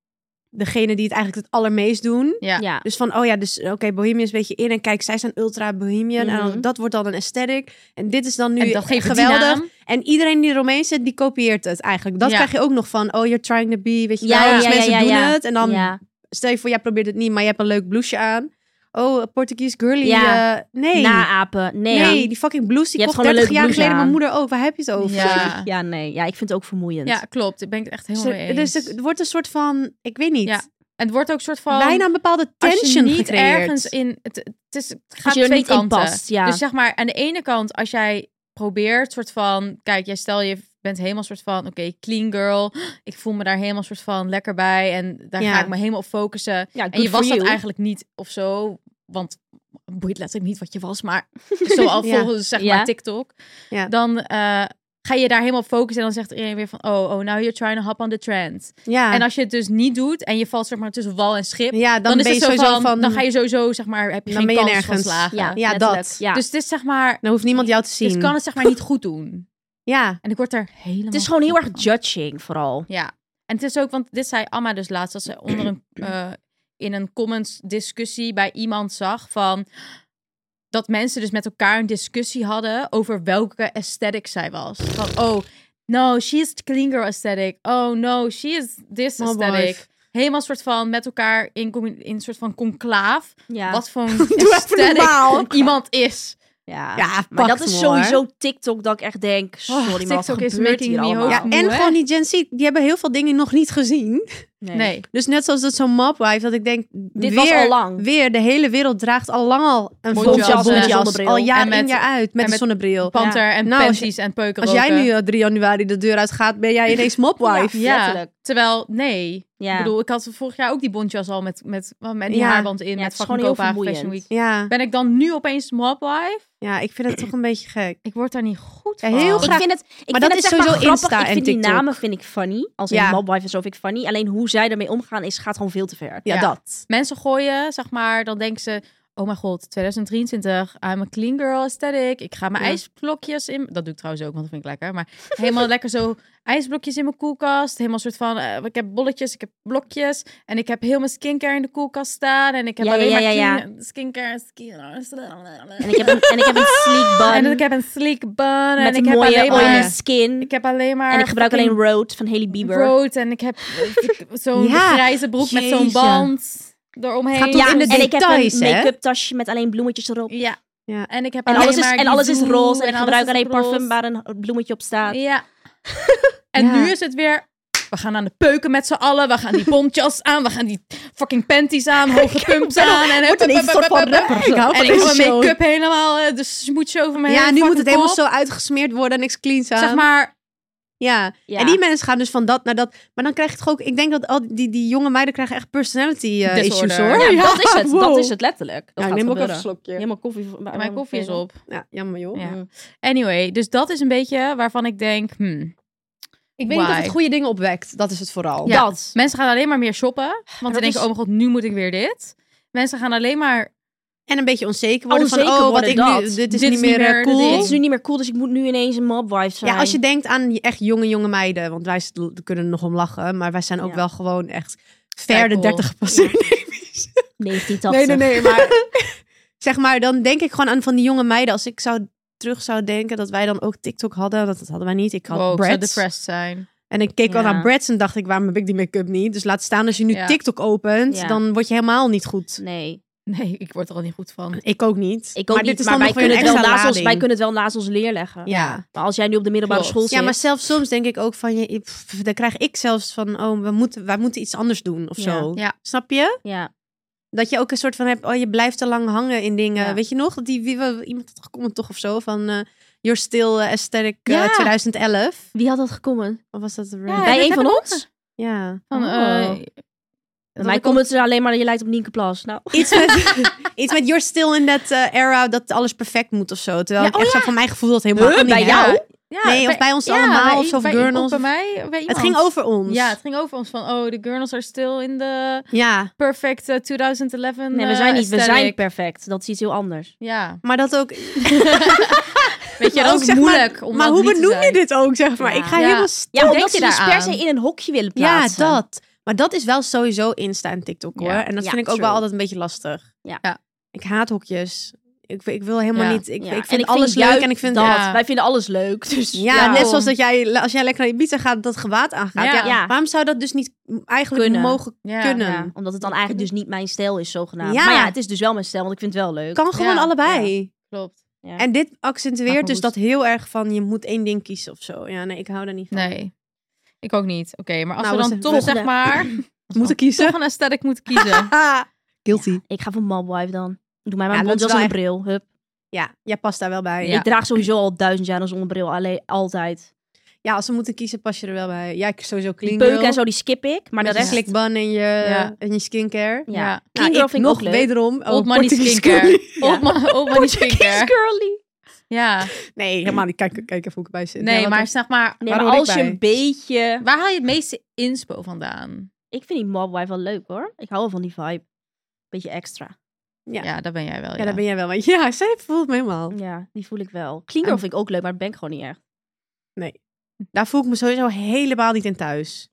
E: degene die het eigenlijk het allermeest doen.
C: Ja.
D: ja.
E: Dus van, oh ja, dus oké, Bohemian is een beetje in. En kijk, zij zijn ultra Bohemian. En
D: Mhm.
E: dan, dat wordt dan een aesthetic. En dit is dan nu
C: en dat geeft het die
E: geweldig.
C: naam.
E: En iedereen die eromheen zit, die kopieert het eigenlijk. Dat
C: Ja.
E: krijg je ook nog van, oh, you're trying to be, weet je
D: Ja,
E: wel.
D: ja,
E: dus
D: ja,
E: mensen
D: ja,
E: doen
D: ja.
E: het. En dan
D: ja.
E: stel je voor, jij probeert het niet, maar je hebt een leuk blouseje aan. Oh, een Portuguese girly.
D: Ja.
E: eh, nee.
D: Naapen. Nee.
E: nee. die fucking blouse, die
D: Je hebt
E: kocht
D: gewoon een
E: 30
D: leuk
E: jaar
D: blouse
E: geleden mijn
D: aan.
E: moeder ook. Waar heb je het over?
C: Ja.
D: Ja, nee. Ja, ik vind het ook vermoeiend.
C: ja, klopt. Ik ben het echt
E: Dus
C: helemaal mee
E: er-
C: eens.
E: dus het wordt een soort van, ik weet niet,
C: Ja, het wordt ook een soort van...
E: bijna een bepaalde
C: als je
E: tension
C: niet
E: gecreëerd.
C: ergens in... Het, het, is, het gaat
D: je er
C: twee
D: niet in
C: kanten.
D: past, ja.
C: Dus zeg maar, aan de ene kant, als jij probeert soort van... Kijk, jij stel je bent helemaal soort van, oké, clean girl. Ik voel me daar helemaal soort van lekker bij. En daar
E: Ja.
C: ga ik me helemaal op focussen. En
D: Ja,
C: je
D: good for
C: was dat
D: you.
C: eigenlijk niet of zo. Want het boeit letterlijk niet wat je was. Maar zo al
E: Ja.
C: volgens zeg
D: Ja.
C: maar TikTok.
E: Ja.
C: Dan eh, ga je daar helemaal op focussen. En dan zegt iedereen weer van, oh, oh, now you're trying to hop on the trend.
E: ja.
C: En als je het dus niet doet en je valt zeg maar tussen wal en schip.
E: ja, dan,
C: Dan, is
E: ben
C: het
E: je
C: zo
E: sowieso van,
C: dan ga je sowieso, zeg maar, heb je
E: Dan
C: geen
E: ben je
C: kans van
E: nergens.
C: slagen.
D: Ja,
E: Ja,
D: letterlijk.
E: dat.
D: Ja.
C: Dus het is zeg maar,
E: dan hoeft niemand jou te zien.
C: dus kan het zeg maar niet goed doen.
E: Ja,
C: En ik word er helemaal...
D: het is gewoon heel
C: gek
D: erg
C: van.
D: judging vooral.
C: Ja. En het is ook, want dit zei Amma dus laatst, dat ze onder een, eh, in een comments discussie bij iemand zag van dat mensen dus met elkaar een discussie hadden over welke aesthetic zij was. Van, oh, no, she is clean girl aesthetic. Oh, no, she is this
E: Mob
C: aesthetic.
E: wife.
C: Helemaal soort van met elkaar in, commu- in een soort van conclaaf.
D: Ja.
C: Wat voor een
E: even normaal.
C: aesthetic iemand is.
D: Ja.
E: ja pak
D: Maar dat is
E: me, hoor.
D: sowieso TikTok dat ik echt denk, sorry, maar wat
C: TikTok is
D: gebeurt
C: making
D: hier
C: me
D: allemaal?
C: hoofd-
E: Ja, en
C: Moe, hè?
E: gewoon die Gen Z, die hebben heel veel dingen nog niet gezien.
D: nee.
C: Nee.
E: Dus net zoals dat zo'n mapwife, dat ik denk,
D: Dit
E: weer,
D: was al lang.
E: Weer, de hele wereld draagt al lang al een
C: Mondjas
E: mondjas,
C: en
E: mondjas,
D: zonnebril.
E: al
C: En
E: jaar
C: met-
E: in jaar uit, met
C: en
E: een
C: met
E: zonnebril.
C: Panter en
E: Nou, als je-
C: panties en peuken
E: Als jij
C: roken.
E: nu eh, 3 januari de deur uitgaat, ben jij ineens mopwife.
C: Ja,
D: Letterlijk.
C: terwijl, nee.
D: Ja.
C: Ik bedoel, ik had vorig jaar ook die bontjas al met, met, met die
E: Ja.
C: haarband in.
D: Ja, het
C: met
D: is
C: fucking
D: gewoon heel
C: Kopenhagen Fashion
D: vermoeiend.
C: Week.
E: Ja.
C: Ben ik dan nu opeens mobwife?
E: ja, ik vind het toch een beetje gek.
C: Ik word daar niet goed
E: Ja,
C: van.
E: heel
D: Ik
E: graag-
D: vind het, ik vind
E: Maar dat
D: het
E: is
D: zeg maar
E: sowieso
D: grappig.
E: Insta
D: ik
E: en
D: vind die
E: TikTok.
D: namen vind ik funny. Als in
E: Ja.
D: Mobwife is zo vind ik funny. Alleen hoe zij daarmee omgaan is, gaat gewoon veel te ver.
E: Ja,
C: Ja.
E: dat.
C: Mensen gooien, zeg maar, dan denken ze... oh mijn god, 2023, I'm a clean girl aesthetic. Ik ga mijn
E: Ja.
C: ijsblokjes in... Dat doe ik trouwens ook, want dat vind ik lekker. Maar helemaal lekker zo ijsblokjes in mijn koelkast. Helemaal soort van, eh, ik heb bolletjes, ik heb blokjes. En ik heb heel mijn skincare in de koelkast staan. En ik heb
D: Ja, ja,
C: alleen
D: ja,
C: maar
D: ja,
C: clean- skincare. skincare.
D: En ik heb een, en ik heb een sleek bun.
C: En ik heb een sleek bun. en
D: met
C: ik
D: een
C: heb
D: mooie
C: alleen
D: oily
C: maar...
D: skin.
C: Ik heb alleen maar...
D: en ik gebruik alleen
C: fucking
D: Road van Haley Bieber.
C: rood. En ik heb eh, zo'n
A: Ja,
C: grijze broek met zo'n
A: jezus.
C: band eromheen.
A: Gaat
D: Ja,
A: in de
D: en ik heb
A: details,
D: een
A: hè?
D: make-up tasje met alleen bloemetjes erop.
C: Ja.
A: Ja.
C: En ik heb
D: En
C: alleen
D: alles is,
C: maar
D: en
C: die
D: alles is
C: doel
D: roze. En ik
C: alles
D: gebruik
C: is
D: alleen
C: roze.
D: parfum waar een bloemetje op staat.
C: Ja. en
A: Ja.
C: nu is het weer... We gaan aan de peuken met z'n allen. We gaan die bontjas aan. We gaan die fucking panties aan. Hoge pumps aan. En
D: Wordt ineens een soort van rapper.
A: Ik hou van
C: En ik heb
A: deze
C: mijn
A: show.
C: make-up helemaal eh, de smoetje over mijn
E: Ja,
C: hele
E: nu moet het
C: fucking
E: helemaal
C: kop.
E: zo uitgesmeerd worden en niks cleans aan.
C: Zeg maar...
E: Ja.
D: Ja.
E: En die mensen gaan dus van dat naar dat. Maar dan krijg je toch ook... Ik denk dat al die, die jonge meiden krijgen echt personality eh,
C: Disorder.
E: issues, hoor.
D: Ja, dat is het. Dat
E: wow.
D: is het letterlijk. Dat
E: Ja, ik
D: gaat
E: neem ook even
D: gebeuren.
E: een slokje.
D: Helemaal koffie. voor-
C: Mijn koffie is op.
E: Ja, jammer joh.
C: Ja. Anyway, dus dat is een beetje waarvan ik denk... hmm,
E: Ik weet niet of
C: Why?
E: het goede dingen opwekt. Dat is het vooral.
C: Ja.
D: Dat.
C: Mensen gaan alleen maar meer shoppen. Want ze
E: dat
C: denken,
E: is-
C: oh mijn god, nu moet ik weer dit. Mensen gaan alleen maar...
E: En een beetje onzeker worden
D: Onzeker
E: van... Oh,
D: worden,
E: wat ik nu...
D: dat.
E: Dit is niet meer eh,
C: dit
E: cool.
D: Dit is nu niet meer cool, dus ik moet nu ineens een mobwife zijn.
E: Ja, als je denkt aan je echt jonge, jonge meiden. Want wij z- kunnen er nog om lachen. Maar wij zijn ook
D: Ja.
E: wel gewoon echt ver de
C: Eikel.
E: 30 gepasseerd.
D: 1980.
E: nee. Maar zeg maar, dan denk ik gewoon aan van die jonge meiden. Als ik zou terug zou denken dat wij dan ook TikTok hadden. Dat, dat hadden wij niet. Ik had
C: Wow, ik zou
E: Bratz.
C: depressed zijn.
E: En ik keek wel
D: Ja.
E: naar Brads en dacht ik, waarom heb ik die make-up niet? Dus laat staan als je nu
C: Ja.
E: TikTok opent,
D: Ja.
E: dan word je helemaal niet goed.
D: Nee,
C: Nee, ik word er al niet goed van.
E: Ik ook niet.
D: ik ook
E: maar
D: niet.
E: dit is
D: maar
E: dan
D: wij
E: nog weer
D: kunnen,
E: een
D: het wel
E: extra
D: naast ons, wij
E: lading.
D: kunnen het wel naast ons leer leggen.
E: Ja.
D: Maar als jij nu op de middelbare
C: Klopt.
D: school zit...
E: Ja, maar zelf soms denk ik ook van, je, pff, dan krijg ik zelfs van, oh, we moeten, wij moeten iets anders doen of
D: Ja.
E: zo.
C: Ja.
E: Snap je?
D: Ja.
E: Dat je ook een soort van hebt, oh, je blijft te lang hangen in dingen.
D: Ja.
E: Weet je nog? Dat Die, wie, wie- iemand had gecomment toch of zo van, eh You're Still eh, Aesthetic eh,
C: Ja.
E: 2011.
D: Wie had dat gekomen?
E: Of was dat de
C: Ja,
D: Bij
C: dat
D: een van
C: heb ik
D: ons?
E: Ja.
C: Van,
D: Oh.
C: eh,
D: Bij mij komt het er alleen maar dat je lijkt op Nienke Plas. Nou,
E: Iets met, iets met You're Still in that eh, era, dat alles perfect moet of zo. Terwijl
C: Ja,
E: ik echt zo van mijn gevoel dat helemaal
D: Huh?
E: niet
D: Bij
E: heb.
D: jou?
C: ja,
E: Nee, of bij ons allemaal of zo, of
C: bij-
E: Gurnals.
C: Bij mij, bij
E: Het
C: iemand.
E: ging over ons.
C: Ja, het ging over ons van, oh, de Gurnals are still in the
E: ja.
C: perfect eh, 2011
D: nee, we
E: Nou,
C: eh,
D: zijn niet. We
C: aesthetic.
D: zijn perfect. Dat is iets heel anders.
C: Ja.
E: Maar dat ook.
C: Weet je,
E: maar
C: dat
E: ook,
C: is
E: zeg maar,
C: moeilijk om
E: maar
C: dat
E: hoe
C: niet te
E: benoem je
C: zijn.
E: dit ook, zeg maar?
D: Ja.
E: Ik ga
C: Ja.
E: helemaal stil.
D: Ja,
C: denk
D: omdat
C: je
D: ze dus
C: daaraan?
D: per se in een hokje willen
E: Ja,
D: plaatsen.
E: dat. Maar dat is wel sowieso Insta en TikTok hoor.
C: Ja.
E: En dat
D: Ja,
E: vind ik ook
D: true.
E: wel altijd een beetje lastig.
D: Ja.
C: Ja.
E: Ik haat hokjes. Ik, ik wil helemaal
C: Ja.
E: niet. Ik,
D: Ja.
E: ik
D: En
E: vind alles leuk
D: juist
E: en ik vind.
D: dat.
E: Ja.
C: Ja.
D: Wij vinden alles leuk. Dus
E: net zoals dat jij, als jij lekker naar Ibiza gaat, dat gewaad aangaat.
C: Ja.
E: Ja.
D: Ja.
E: Waarom zou dat dus niet m- eigenlijk
D: Kunnen.
E: mogen
C: Ja.
E: kunnen?
D: Ja, omdat het dan eigenlijk dus niet mijn stijl is, zogenaamd.
E: Ja.
D: Maar ja, het is dus wel mijn stijl, want ik vind het wel leuk.
E: Kan gewoon
C: Ja.
E: allebei.
C: Klopt.
D: Ja.
E: En dit
D: Maar
E: accentueert dus
D: goed.
E: dat heel erg van je moet één ding kiezen of zo. Ja, nee, ik hou daar niet van.
C: Nee. Ik ook niet. Oké, maar als
E: Oh. Nou,
C: we
E: wat
C: dan
E: is
C: toch,
E: de
C: zeg
D: volgende?
C: maar,
E: Moeten
C: toch
E: kiezen.
C: een aesthetic moeten kiezen.
E: Ah, guilty.
D: Ik ga voor Mobwife dan. Doe mij maar
E: Ja,
D: een
E: dat is
D: bontjas en een
E: wel
D: bril. Hup.
E: Ja, jij past daar wel bij.
C: Ja.
E: Ja,
D: Ik draag sowieso al duizend jaar een zonnebril. Alleen, altijd.
E: als we moeten kiezen, pas je er wel bij. Ja, ik sowieso
D: Die
E: clean girl.
D: peuk en zo, die skip ik. Maar de
E: Met je
D: rest...
E: Dus slikban en je,
C: Ja.
E: en je skincare.
D: Ja.
C: Ja.
D: Clean
E: Nou,
D: girl
E: ik
D: vind ik
E: nog
D: ook leuk.
E: wederom. oh,
C: Old money
E: Portuguese
C: skincare.
E: girl.
C: Old, ma- old money skincare.
D: girly.
C: Ja.
E: Nee, helemaal niet. Kijk, kijk even hoe ik erbij zit. Ja,
C: Nee,
E: wat
C: maar
E: een-
C: zeg maar,
D: Nee,
E: Waar
D: maar
E: hoor ik
D: als je
E: bij?
D: een beetje...
C: waar haal je het meeste inspo vandaan?
D: Ik vind die Mobwife wel leuk hoor. Ik hou wel van die vibe. Beetje extra.
E: Ja.
C: Ja, daar ben jij wel.
E: Ja, daar ben jij wel. Maar ja, zij voelt me helemaal.
D: Ja, die voel ik wel. Clean girl
E: En-
D: vind ik ook leuk, maar dat ben ik gewoon niet echt.
E: Daar voel ik me sowieso helemaal niet in thuis.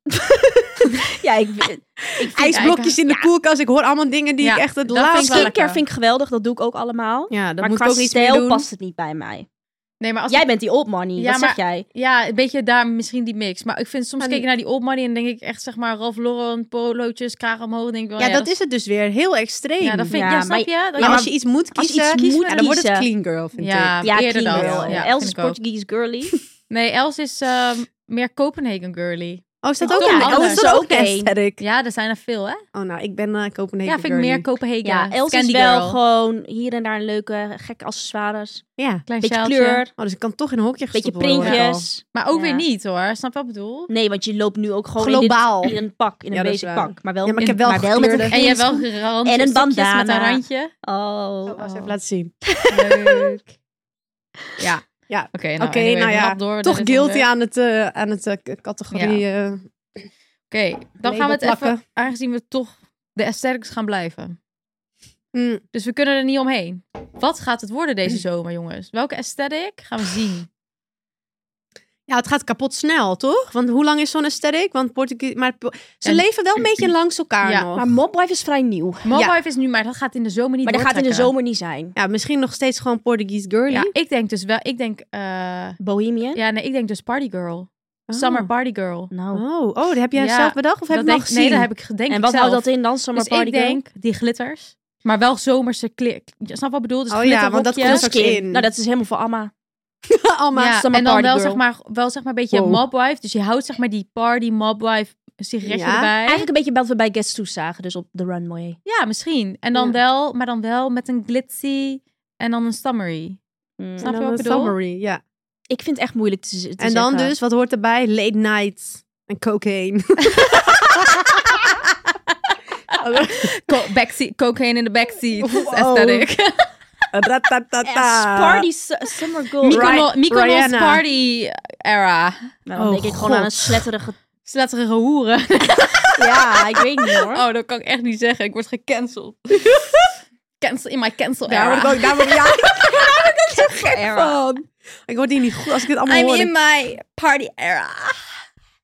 D: Ja, ik... ik vind...
E: Ijsblokjes in de
D: Ja.
E: koelkast. Ik hoor allemaal dingen die
C: Ja,
E: ik echt het
C: dat vind ik
E: laatst...
C: wel lekker.
D: Skincare vind ik geweldig. Dat doe ik ook allemaal.
E: Ja, dat
D: maar
E: moet
D: qua
E: ik ook iets meer
D: stijl
E: doen.
D: past het niet bij mij.
C: Nee, maar als
D: Jij bent die old money.
C: Ja,
D: Wat
C: maar-
D: zeg jij?
C: Ja, een beetje daar misschien die mix. Maar ik vind soms
E: En-
C: kijk ik naar die old money en denk ik echt zeg maar Ralph Lauren polootjes, kraag omhoog. Denk ik, wel,
E: Ja, dat is het dus weer. Heel extreem.
C: Ja, dat vind ik. Ja,
D: Ja,
C: snap
D: maar-
C: je? Dat-
E: Maar
C: ja,
E: als je iets moet
D: als je
E: kiezen,
D: iets moet
E: ja, dan wordt het
D: kiezen.
E: clean girl, vind ik.
C: ja,
D: Ja,
C: eerder
D: clean
C: dan.
D: girl.
C: Ja,
D: Els is
C: vind ik ook.
D: Portuguese girly.
C: Nee, Els is ehm, meer Copenhagen girly.
E: Oh, is dat
C: Ja,
E: ook
C: toch
E: een
C: anders.
E: Oh, is dat ook
D: Oké.
E: een aesthetic?
C: Ja, er zijn er veel, hè?
E: Oh, nou, ik ben eh, Kopenhagen
C: ja, vind ik
E: girly.
C: meer Copenhagen.
D: Ja, Els is
C: Scandi
D: wel
C: girl.
D: gewoon hier en daar een leuke, gekke accessoires.
E: Ja.
C: Klein
D: Beetje
C: sjaaltje.
D: kleur,
E: Oh, dus ik kan toch in een hokje
D: beetje
E: gestopt worden.
D: printjes.
C: Maar ook
D: Ja.
C: weer niet, hoor. Snap je wat ik bedoel?
D: Nee, want je loopt nu ook gewoon
E: Globaal.
D: In, dit- in een pak, in
E: Ja,
D: een
E: dat is
D: basic
E: waar.
D: pak. Maar wel,
E: Ja, maar ik heb
D: in-
E: wel
D: maar wel met een
E: gekleurde-
C: En jij wel gerand
D: En een
C: stukjes met een
D: bandana.
C: randje.
D: Oh.
E: Oh, wacht,
D: oh.
E: even laten zien.
C: Leuk. Ja.
E: Ja.
C: Oké, nou,
E: Oké,
C: anyway,
E: nou
C: we
E: ja,
C: gaan door. Er
E: Toch
C: is
E: guilty
C: onder.
E: aan het, eh, aan het eh, k- categorie. eh,
C: Oké, dan gaan we het
E: Label plakken.
C: even, aangezien we toch de aesthetics gaan blijven.
E: Mm.
C: Dus we kunnen er niet omheen. Wat gaat het worden deze zomer, jongens? Welke aesthetic gaan we zien?
E: Ja, het gaat kapot snel, toch? Want hoe lang is zo'n aesthetic? Want Portugees... Maar po- ze
C: En-
E: leven wel een beetje langs elkaar
C: Ja,
E: nog.
D: Maar Mobwife
E: dus
D: is vrij nieuw.
C: Mobile is nu, maar dat gaat in de zomer niet
D: maar dat gaat in de
C: doortrekken.
D: zomer niet zijn.
E: Ja, misschien nog steeds gewoon Portuguese girly.
C: Ja, ik denk dus wel. Ik denk. eh,
D: Bohemian?
C: ja, nee, ik denk dus Party Girl.
E: Oh.
C: Summer Party Girl.
D: Nou.
E: Oh, oh, dat heb jij
C: Ja,
E: zelf bedacht? Of heb
C: Dat
E: je
C: denk-
E: nog gezien?
C: nee, dat heb ik gedenkt.
D: en wat
C: zelf.
D: houdt dat in dan? Summer
C: Dus
D: party
C: ik denk die glitters. Maar wel zomerse kleren. Snap wat ik bedoel? Dus
E: Oh ja, want dat
C: glitterrokjes.
E: komt ook in.
D: Nou, dat is helemaal voor Amma.
E: Allemaal.
C: Ja,
D: summer
C: en dan
D: party
C: wel
D: girl.
C: zeg, maar, wel zeg maar een beetje
E: Wow.
C: mobwife. Dus je houdt zeg maar die party mobwife een sigaretje
E: Ja,
C: erbij.
D: Eigenlijk een beetje wat we bij Guess Who zagen, dus op de runway.
C: Ja, misschien. En dan
E: Ja.
C: wel, maar dan wel met een glitzy en dan een stammery. Snap
D: Mm.
C: je
E: dan
C: wat
E: Nou, een
C: ik bedoel?
E: summary, ja.
D: Ik vind het echt moeilijk te, z- te
E: en dan
D: zeggen.
C: eh,
E: dus, wat hoort erbij? Late night en cocaine.
C: Co- backseat, cocaine in de backseat.
E: Wow.
C: Aesthetic.
E: Ratatata.
D: Yes, party su- summer girl.
E: Right.
C: Mykonos, Mykonos
E: Rihanna.
C: party era.
D: Nou, dan
E: Oh,
D: denk ik gewoon
E: God.
D: aan een sletterige...
C: Sletterige hoeren.
D: ja, ik weet niet hoor.
C: Oh, dat kan ik echt niet zeggen. Ik word gecanceld. Cancel in my cancel
E: Daar word ik
C: era.
E: ook, daar word ik, ja,
C: Era.
E: van. Ik word hier niet goed als ik dit allemaal
C: I'm
E: hoor.
C: in my party era.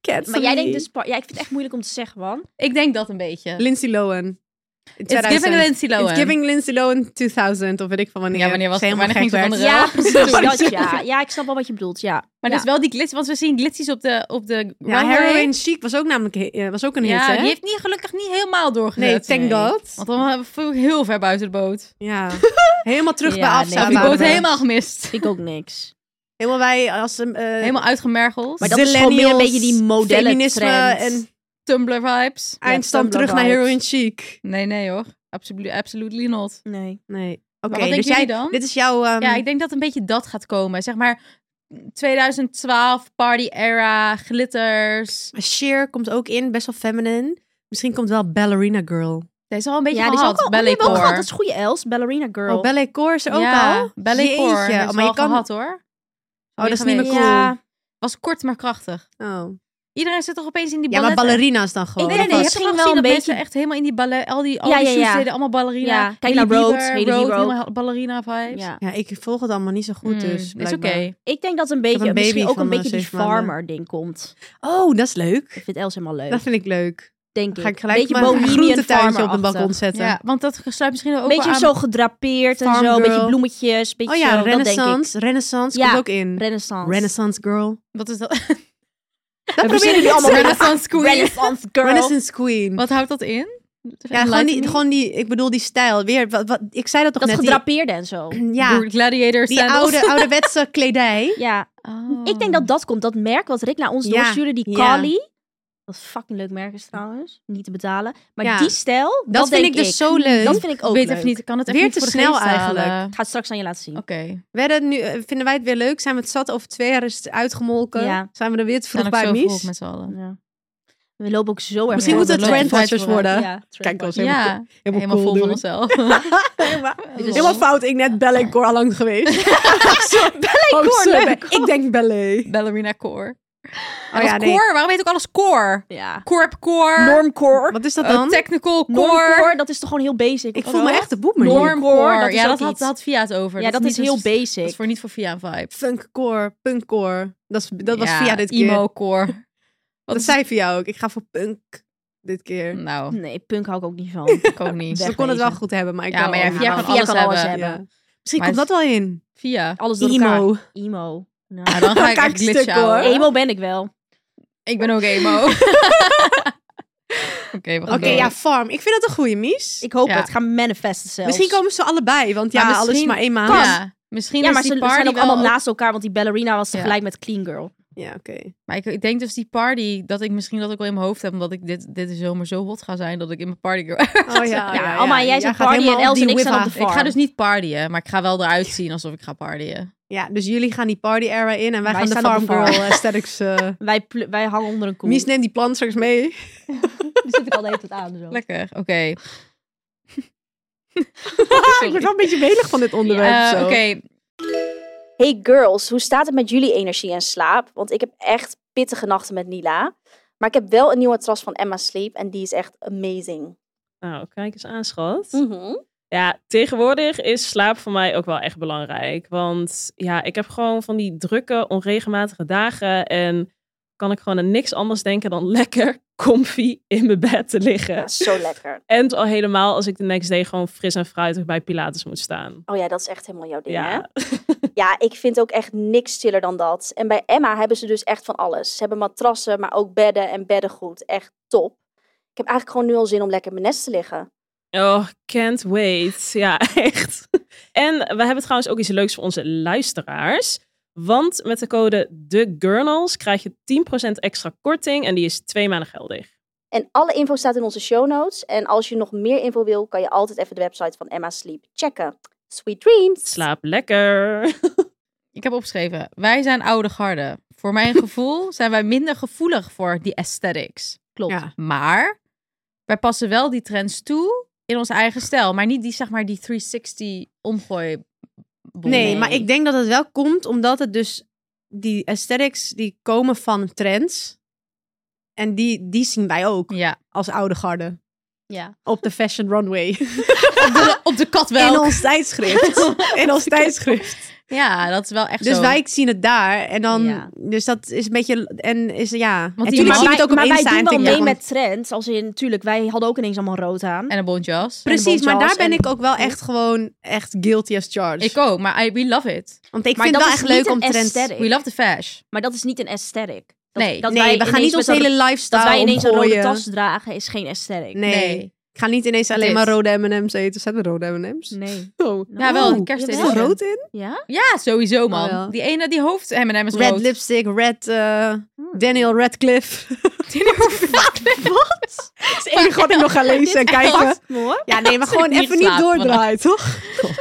E: Cancel
D: Maar jij
E: me.
D: denkt dus... par- Ja, ik vind het echt moeilijk om te zeggen, man.
C: Ik denk dat een beetje.
E: Lindsay Lohan.
C: It's giving Lindsay Lohan.
E: It's giving Lindsay Lohan 2000, of weet ik van wanneer.
C: Ja, wanneer was
E: Ze
C: het?
E: helemaal
C: Wanneer
E: gek
C: ging ze
E: werd.
C: Ja,
D: Ja, precies.
E: precies.
D: Dat, ja. ja, ik snap wel wat je bedoelt, ja.
C: Maar
D: Ja.
C: dus wel die glitz, want we zien glitzies op de, op de
E: Ja,
C: runway.
E: Heroin Chic was ook namelijk he- eh, was ook een hit,
C: Ja,
E: hè?
C: die heeft niet, gelukkig niet helemaal doorgezet.
E: Nee, thank god.
C: Want dan voel ik heel ver buiten de boot.
E: Ja. Helemaal terug
D: Ja,
E: bij
D: nee,
E: af.
D: Ja,
C: Ja,
E: zijn
C: die
E: we.
C: boot helemaal gemist.
D: Vind ik ook niks.
E: Helemaal wij als een... eh,
C: Helemaal uitgemergeld.
D: Maar dat is gewoon meer een beetje die modellen
E: feminisme
D: trend.
E: en
C: Tumblr vibes.
E: eindstand terug naar
D: vibes.
E: Heroin Chic.
C: Nee, nee hoor. Absolu absolutely not.
D: Nee.
E: Nee. Oké,
C: wat
E: dus
C: denken
E: jij
C: jullie dan?
E: Dit is jouw... ehm,
C: Ja, ik denk dat een beetje dat gaat komen. Zeg maar 2012, party era, glitters.
E: Sheer komt ook in, best wel feminine. Misschien komt wel Ballerina Girl.
C: Deze is al een beetje
D: Ja, die is ook
C: gehad.
D: al, oh, die
C: ballet
D: hebben we ook
C: core.
D: gehad. Dat is goede Els, Ballerina Girl.
E: Oh, Ballet Core is er ook
C: ja,
E: al?
C: ballet core.
E: Jeetje, Oh,
C: Hebben ze
E: maar je
C: al
E: kan...
C: gehad hoor.
E: Oh, dat is niet meer
C: geweest.
E: cool.
D: Ja.
C: Was kort maar krachtig.
E: Oh.
C: Iedereen zit toch opeens in die
E: Ja, maar
C: balletten?
E: ballerina's dan gewoon.
D: Ik
C: Nee, nee,
D: weet
C: nee, je hebt
D: Misschien
C: toch wel gezien
D: wel
C: dat
D: een
C: mensen
D: beetje-
C: echt helemaal in die ballet, al die, al
D: Ja,
C: die
D: ja,
C: shoes
D: ja.
C: deden allemaal ballerina.
D: Ja, kijk
C: Hailey
D: naar Road,
C: Bieber,
D: Hailey
C: Road,
D: Road.
C: helemaal ballerina vibes.
D: Ja.
E: Ja, ik volg het allemaal niet zo goed,
C: Mm,
E: dus
C: Is oké.
E: blijkbaar.
D: Ik denk dat een beetje,
E: een baby
D: misschien ook
E: van,
D: een
E: eh,
D: beetje die
E: zeven maanden.
D: farmer ding komt.
E: Oh, dat is leuk.
D: Ik vind Els helemaal leuk.
E: Dat vind ik leuk.
D: denk ik.
E: Ga ik gelijk
D: beetje
E: maar een
D: bohemian
E: groentetuintje op een
D: farmer-achtig.
E: balkon zetten.
C: Ja, want dat sluit misschien ook
D: Een beetje
C: wel aan...
D: zo gedrapeerd en
E: Farm
D: zo. Een beetje
E: girl.
D: bloemetjes. Beetje
E: Oh ja,
D: zo, Dat denk
E: Renaissance. Renaissance
D: Ja,
E: komt ook in.
D: ik. Renaissance.
E: Renaissance Girl.
C: Wat is dat?
E: Dat
D: proberen jullie allemaal weer.
C: Renaissance Queen.
D: Renaissance girl.
E: Renaissance Queen.
C: Wat houdt dat in?
E: Ja, gewoon die, gewoon die, ik bedoel die stijl. Weer, wat, wat, ik zei dat toch
D: dat
E: net.
D: gedrapeerde en zo.
E: die, ja,
C: Gladiator Oh.
E: die oude, ouderwetse kledij.
D: Ja, ik denk dat dat komt. Dat merk wat Rick naar ons
E: Ja,
D: doorstuurde, die
E: ja.
D: Kali. Wat een fucking leuk merk is trouwens. Niet te betalen. Maar
E: Ja.
D: die stijl, dat,
E: Dat, vind
D: denk
E: ik dus zo leuk.
D: Dat vind ik ook
C: weet
D: leuk.
C: even niet, ik kan het even
E: Weer
C: niet
E: te
C: voor de
E: snel
C: geest halen.
E: eigenlijk.
D: Ik ga het straks aan je laten zien.
C: Oké.
E: Werden nu, eh, vinden wij het weer leuk? Zijn we het zat? Over twee jaar is het uitgemolken.
D: Ja.
E: Zijn we er weer te
C: Dan
E: vroeg
C: ook
E: bij
C: zo vroeg
E: Mies?
C: met z'n allen.
D: Ja. We lopen ook zo erg
E: Misschien
D: voor.
E: moeten we
C: dat loopt
E: trendwatchers
C: tijd
D: Ja,
E: worden. Kijk, dat is
D: trendwatchers.
C: Ja,
E: helemaal, helemaal,
C: helemaal
E: cool
C: vol van
E: doen.
C: onszelf.
E: helemaal, helemaal fout. Ik net ballet core al lang geweest.
D: Core,
E: ballet
D: leuk.
E: Ik denk ballet.
C: Ballerina core.
E: Oh ja,
C: core?
E: nee.
C: Waarom heet ook alles core?
D: Ja.
C: Corp core.
D: Normcore.
E: Wat is dat
C: eh,
E: dan?
C: technical core.
D: Normcore, dat is toch gewoon heel basic.
E: ik
D: of
E: voel me
D: wel?
E: echt de boemer.
C: Norm core.
D: dat is
C: ja,
D: ook
C: dat had,
D: iets.
C: dat had Via het over.
D: Ja, dat
C: niet
D: is heel
C: een- Dat
D: basic.
C: is voor niet voor Via een vibe.
E: Funkcore, punkcore. Dat, is, dat was
C: Ja,
E: via dit keer.
C: Emo core.
E: Dat Mm,
C: is-
E: zei via ook. Ik ga voor punk dit keer.
C: Nou,
D: Nee, punk hou ik ook niet van.
C: ik ook niet.
E: Dus we
D: wegwezen.
E: konden het wel goed hebben, maar ik
C: Ja, maar ja,
E: wel-
C: via
D: maar
C: kan
D: Via
C: alles
D: kan alles
C: hebben.
D: hebben. Oh,
E: Ja. Misschien
C: Maar
E: komt dat wel in.
C: Via.
D: Alles door elkaar.
E: Emo.
D: Emo. Nou,
C: Ja, dan ga ik
E: Kijk,
C: echt glitchen
E: stuk, hoor.
C: houden.
D: Emo ben ik wel.
C: Ik ben ook emo. Oké, we
E: Oké,
C: gaan door.
E: ja, farm. Ik vind dat een goede mies.
D: Ik hoop
C: Ja.
D: het. Ga manifesten zelfs.
E: Misschien komen ze allebei, want ja,
C: Maar
E: alles is
C: misschien-
E: maar één maand. Ja,
C: Ja, misschien
D: Ja,
C: is
D: maar
C: die
D: ze
C: party
D: zijn ook
C: wel
D: allemaal
C: ook-
D: naast elkaar, want die ballerina was
C: Ja.
D: tegelijk met Clean Girl.
E: oké.
C: Maar ik, ik denk dus die party, dat ik misschien dat ook wel in mijn hoofd heb, omdat ik dit, dit zomer zo hot ga zijn, dat ik in mijn party...
E: Oh ja,
D: Ja, Alma, jij
E: gaat
D: zit party en
E: helemaal
D: Els en
E: die
D: ik staan
E: wiffa.
D: op de
C: ik
D: farm.
C: ga dus niet partyen, maar ik ga wel eruit zien alsof ik ga partyen.
E: Ja, dus jullie gaan die party era in en wij,
D: Wij
E: gaan de
D: staan op
E: farm
D: de
E: girl aesthetics... eh,
D: Wij, pl- wij hangen onder een koe.
E: Mies, neem die plant straks mee.
D: Die zit ik al de hele tijd aan. Zo.
C: Lekker, oké.
E: ik word wel een beetje welig van dit onderwerp.
C: Eh,
E: zo.
C: oké,
H: Hey girls, hoe staat het met jullie energie en slaap? Want ik heb echt pittige nachten met Nila. Maar ik heb wel een nieuwe matras van Emma Sleep en die is echt amazing.
I: Nou, kijk eens aan, schat.
H: Mhm.
I: Ja, tegenwoordig is slaap voor mij ook wel echt belangrijk. Want ja, ik heb gewoon van die drukke, onregelmatige dagen. En kan ik gewoon aan niks anders denken dan lekker comfy in mijn bed te liggen.
H: Ja, zo lekker.
I: En al helemaal als ik de next day gewoon fris en fruitig bij Pilates moet staan.
H: Oh ja, dat is echt helemaal jouw ding, hè?
I: Ja,
H: Ja, ik vind ook echt niks stiller dan dat. En bij Emma hebben ze dus echt van alles. Ze hebben matrassen, maar ook bedden en beddengoed. Echt top. Ik heb eigenlijk gewoon nu al zin om lekker in mijn nest te liggen.
I: oh, can't wait. Ja, echt. En we hebben trouwens ook iets leuks voor onze luisteraars. Want met de code TheGurnals krijg je 10% extra korting en die is twee maanden geldig.
H: En alle info staat in onze show notes. En als je nog meer info wil, kan je altijd even de website van Emma Sleep checken. Sweet dreams!
I: Slaap lekker.
C: Ik heb opgeschreven, wij zijn oude garde. Voor mijn gevoel zijn wij minder gevoelig voor die aesthetics. Klopt.
E: Ja.
C: Maar wij passen wel die trends toe in ons eigen stijl. Maar niet die, zeg maar, die 360 omgooi.
E: Nee, maar ik denk dat het wel komt omdat het dus die aesthetics die komen van trends. En die, die zien wij ook
C: Ja.
E: als oude garde
C: ja.
E: op de fashion runway.
C: Op, de, op de kat
E: In
C: wel.
E: ons tijdschrift. In ons tijdschrift.
C: Ja, dat is wel echt
E: Dus
C: zo.
E: wij zien het daar. En dan,
C: Ja.
E: dus dat is een beetje, en is, ja.
C: Want
E: en
C: die-
E: toen
C: maar
E: zien we
C: wij-
E: het ook op
D: maar wij
E: Insta.
D: doen
E: en
D: wel
E: TikTok.
D: mee met trends. Als in, natuurlijk, wij hadden ook ineens allemaal rood aan.
C: En een bontjas.
E: Precies, maar daar
D: Bontjas
E: ben
D: en-
E: ik ook wel echt gewoon echt guilty as charged.
C: Ik ook, maar I, we love it.
E: Want ik
D: Maar
E: vind
D: dat
E: het wel
D: is
E: echt leuk
D: niet
E: om
D: een
E: trends...
D: aesthetic.
C: We love the fash.
D: Maar dat is niet een aesthetic. Dat,
C: Nee.
D: dat
E: Nee,
D: wij
E: we gaan
D: ineens
E: niet
D: met
E: ons
D: een-
E: hele lifestyle
D: Dat wij ineens een rode
E: omgooien.
D: tas dragen is geen aesthetic.
E: Nee.
C: Nee.
E: Ik ga niet ineens alleen
C: Dit.
E: maar rode M&M's eten. Zetten we rode M&M's?
D: Nee.
E: Oh.
C: Ja, wel, een
E: Oh,
C: kerst-
E: Zit er rood in?
D: Ja?
C: Ja, sowieso man.
E: Oh, ja.
C: Die ene, die hoofd M&M is
E: Red
C: rood.
E: lipstick, red... eh, Daniel Radcliffe.
C: Wat?
E: Dat is het enige wat ik nog ga lezen en kijken.
D: Mooi.
E: Ja, nee, maar gewoon
C: niet
E: even niet
C: slapen
E: doordraaien, toch?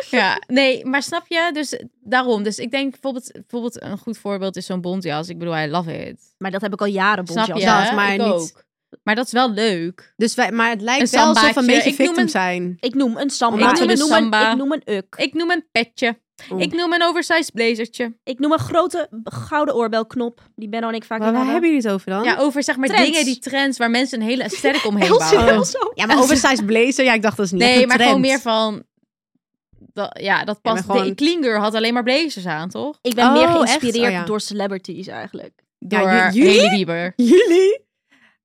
C: Ja, nee, maar snap je? Dus daarom. Dus ik denk bijvoorbeeld, bijvoorbeeld een goed voorbeeld is zo'n bontjas. Ik bedoel, I love it.
D: Maar dat heb ik al jaren,
C: Snap
D: bontjas.
C: je?
E: dat, maar
C: ik
E: niet-
C: ook. Maar dat is wel leuk.
E: Dus wij, maar het lijkt
C: Een
E: wel alsof we een
C: sambaatje.
E: beetje
C: Ik noem
E: victim
C: een-
E: zijn.
D: Ik noem een samba.
C: Omdat we
D: ik,
C: dus
D: noem
C: samba-
D: Een, ik noem een uk.
C: Ik noem een petje.
E: Oeh.
C: Ik noem een oversized blazertje.
D: Ik noem een grote gouden oorbelknop. Die Benno en ik vaak
E: Maar
D: in
E: waar
D: hadden.
E: hebben jullie het over dan?
C: Ja, over zeg maar
D: Trends.
C: dingen, die trends, waar mensen een hele aesthetic omheen
E: Oh.
C: bouwen.
E: Ja, maar oversized blazer, ja, ik dacht dat is niet echt
C: Nee,
E: een
C: maar
E: trend.
C: gewoon meer van... Dat, ja, dat
E: maar
C: past.
E: gewoon-
C: de, Clean Girl had alleen maar blazers aan, toch?
D: Ik ben
E: Oh,
D: meer
E: echt?
D: geïnspireerd
E: Oh, ja.
D: door celebrities eigenlijk.
E: Ja,
C: Door
E: j- jullie?
C: Hailey Bieber.
E: Jullie?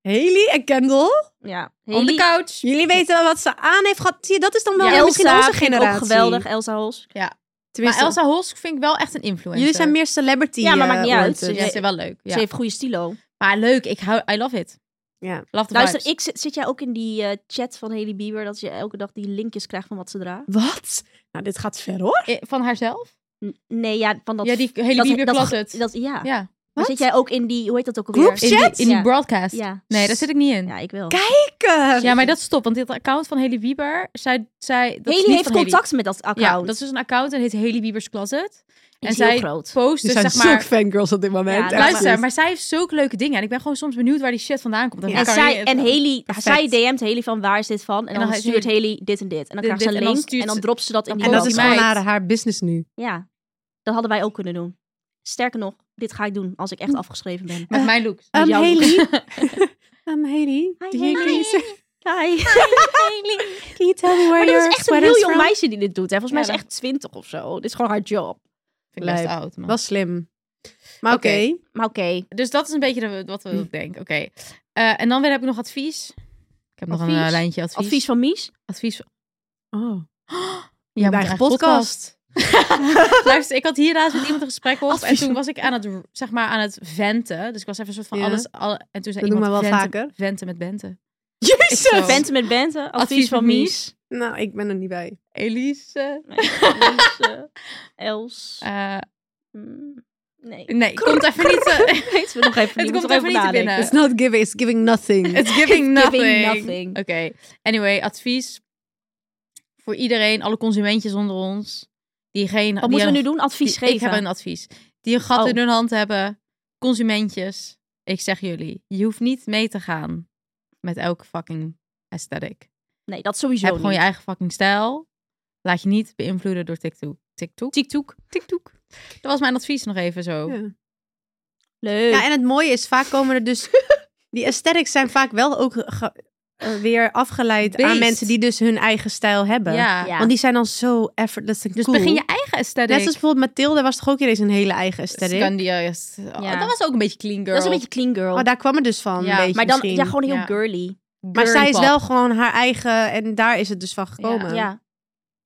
E: Haley en Kendall?
D: Ja.
C: Op de couch.
E: Jullie weten wel wat ze aan heeft gehad. Zie je, dat is dan wel
D: Ja,
E: weer misschien
D: Elsa
E: onze
D: vind ik
E: generatie.
D: ook geweldig, Elsa Hols.
C: Maar
E: Tenminste,
C: Elsa Hosk vind ik wel echt een influencer.
E: jullie zijn meer celebrity
D: Ja, maar maakt
E: eh,
D: niet uit.
E: oriented.
C: Ja, ze is wel leuk. Ja.
D: Ze heeft goede stilo.
C: Maar leuk, ik hou, I love it.
E: Ja.
C: Love the
D: Luister,
C: vibes.
D: ik, zit, zit jij ook in die eh, chat van Haley Bieber dat je elke dag die linkjes krijgt van wat ze draagt?
E: Wat? Nou, dit gaat ver hoor.
C: Eh, Van haarzelf?
D: N- nee, ja, van dat...
C: ja, die hele
D: dat,
C: Bieber
D: dat-
C: plat het.
D: dat- ja.
C: ja.
D: Maar zit jij ook in die, hoe heet dat ook alweer?
E: Groepschat?
C: In die, in die
D: Ja.
C: broadcast.
D: Ja.
C: Nee, daar zit ik niet in.
D: Ja, ik wil.
E: Kijk,
C: Ja, maar dat is top, want dit account van Haley Bieber, zij, zij dat is niet
D: Haley heeft
C: van Hailey.
D: contact met dat account.
C: Ja, dat is dus een account en heet Haley Bieber's Closet.
D: Die
C: en
D: is heel
C: zij
D: groot.
C: post
E: Ze
C: dus
E: zijn
C: zeg maar.
E: zulke fangirls op dit moment.
D: Ja,
E: echt.
C: Luister, maar zij heeft zulke leuke dingen en ik ben gewoon soms benieuwd waar die shit vandaan komt.
E: Ja.
D: En,
C: kan
D: zij,
C: je-
D: en Haley,
E: Perfect.
D: zij DM't Haley van waar is dit van? En,
C: En
D: dan,
C: dan
D: stuurt
C: hij-
D: Haley dit en dit. En dan
C: Dit,
D: krijgt
C: dit,
D: ze een
C: en dan
D: link
C: stuurt
D: en dan
C: ze-
D: dropt ze dat
C: dan
D: in die
E: En dat is
C: Die
E: gewoon
C: meid.
E: haar, haar business nu.
D: Ja, dat hadden wij ook kunnen doen. Sterker nog, dit ga ik doen als ik echt afgeschreven ben.
C: met mijn looks.
E: Um,
D: jouw-
E: Haley. um, Haley.
D: Hi,
E: do you- can, you, say-
D: Hi.
E: can you tell me where
D: Maar dit
E: your
D: is echt een
E: sweater
D: heel
E: is
D: jong
E: from?
D: meisje die dit doet. Hè. Volgens mij
C: Ja,
D: is ze echt twintig of zo. Dit is gewoon haar job.
C: Vind ik best
E: Leuk.
C: oud, man.
E: Wel slim. Maar oké.
C: Oké.
D: Maar oké.
C: Dus dat is een beetje de- wat we denken. Oké. Eh, en dan weer heb ik nog advies. Ik heb nog een
D: Advies?
C: eh, lijntje advies.
D: Advies van Mies?
C: advies
E: Oh.
C: Ja,
E: Bij
C: moet
E: een
C: een
E: podcast.
C: podcast. Luister, ik had hiernaast met iemand een gesprek op.
E: Advies.
C: En toen was ik aan het, zeg maar, aan het venten. Dus ik was even een soort van
E: Ja.
C: alles. alle- en toen zei
E: Dat doen
C: iemand,
E: we wel
C: venten,
E: vaker.
C: venten met benten.
E: Jezus!
C: Ik zo-
D: Bente met Bente. Advies,
C: van
D: van
C: Mies.
D: Mies.
E: Nou, ik ben er niet bij.
C: Elise.
D: Nee, Mies, eh, Els.
C: Eh,
D: Mm, nee.
C: nee, het komt even niet eh, te,
D: Weten we nog eh,
C: het
D: even niet.
C: komt
D: Moeten
C: even
D: we
C: niet te
D: over nadenken. Dus
C: binnen.
E: It's not giving, it's giving nothing.
C: It's giving
D: It's
C: nothing.
D: giving nothing.
C: Oké. Anyway, advies voor iedereen, alle consumentjes onder ons. Die geen,
D: Wat
C: die
D: moeten we
C: een-
D: nu doen? Advies
C: die-
D: geven.
C: Ik heb een advies. Die een gat
D: Oh.
C: in hun hand hebben. Consumentjes. Ik zeg jullie, je hoeft niet mee te gaan met elke fucking aesthetic.
D: Nee, dat sowieso
C: Heb gewoon
D: niet.
C: je eigen fucking stijl. Laat je niet beïnvloeden door TikTok. TikTok? TikTok. TikTok. Dat was mijn advies nog even zo.
E: Ja.
D: Leuk.
E: Ja, en het mooie is, vaak komen er dus... Die aesthetics zijn vaak wel ook ge- eh, weer afgeleid aan
C: Beest.
E: mensen die dus hun eigen stijl hebben.
C: Ja.
D: Ja.
E: Want die zijn dan zo effortless en
C: Dus
E: cool.
C: begin je eigen aesthetic.
E: Net als bijvoorbeeld Mathilde was toch ook ineens een hele eigen aesthetic.
C: Scandia. yes. Oh,
D: Ja.
C: Dat was ook een beetje clean girl.
D: Dat is een beetje clean girl.
E: Oh, daar kwam het dus van,
C: Ja,
E: een beetje
D: maar dan
E: misschien.
D: ja, gewoon heel
C: Ja.
D: girly.
E: maar
C: girly
E: zij is
C: pop.
E: wel gewoon haar eigen en daar is het dus van gekomen.
C: Ja.
D: Ja.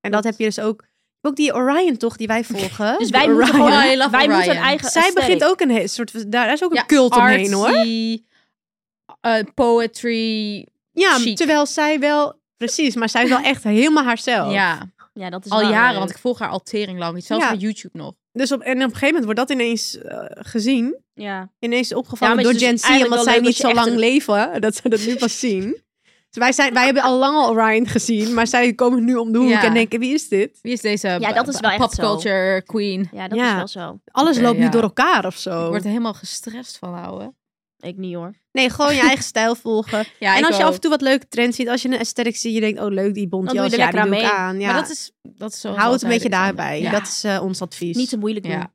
E: En dat heb je dus ook. Ook die Orion toch, die wij volgen.
D: Dus wij moeten gewoon,
C: I love
D: wij moeten een
C: Orion.
D: eigen
E: Zij
D: aesthetic.
E: begint ook een he- soort van- daar is ook een
C: Ja,
E: cult omheen
C: artsy,
E: hoor.
C: eh, poetry.
E: Ja,
C: chic.
E: terwijl zij wel precies, maar zij is wel echt helemaal haarzelf.
C: Ja,
D: Ja, dat is
C: al
D: wel
C: jaren,
D: leuk.
C: want ik volg haar al tering lang. Zelfs
E: Ja.
C: op YouTube nog.
E: Dus op, en op een gegeven moment wordt dat ineens eh, gezien,
D: Ja.
E: ineens opgevallen
D: Ja, maar
E: door
D: het is
E: Gen
D: dus
E: Z,
D: eigenlijk
E: omdat
D: wel
E: zij
D: leuk
E: niet
D: als je
E: zo
D: echt
E: lang
D: een-
E: leven, dat ze dat nu pas zien. Dus wij, zijn, wij hebben al lang al Orion gezien, maar zij komen nu om de hoek
C: Ja.
E: en denken, wie is dit?
C: Wie is deze eh,
D: Ja, dat is wel echt zo.
C: popculture queen?
D: ja, dat
E: Ja.
D: is wel zo.
E: Alles
C: Oké,
E: loopt nu
C: ja.
E: door elkaar of zo.
C: Ik word er helemaal gestrest van, ouwe.
D: Ik niet hoor.
E: Nee, gewoon je eigen stijl volgen.
C: Ja,
E: en
C: ik
E: als je
C: ook.
E: af en toe wat leuke trends ziet, als je een aesthetic ziet, je denkt, oh leuk, die
D: Dan doe
E: bontjas,
D: je er
E: ja, die
D: lekker
E: doe
D: aan
E: ik
D: mee.
E: aan. Ja.
C: Maar dat is, dat is zoals
E: Hou het een
C: altijd,
E: beetje
C: Alexander.
E: daarbij.
C: Ja.
E: Dat is eh, ons advies.
D: Niet te moeilijk doen.
C: Ja.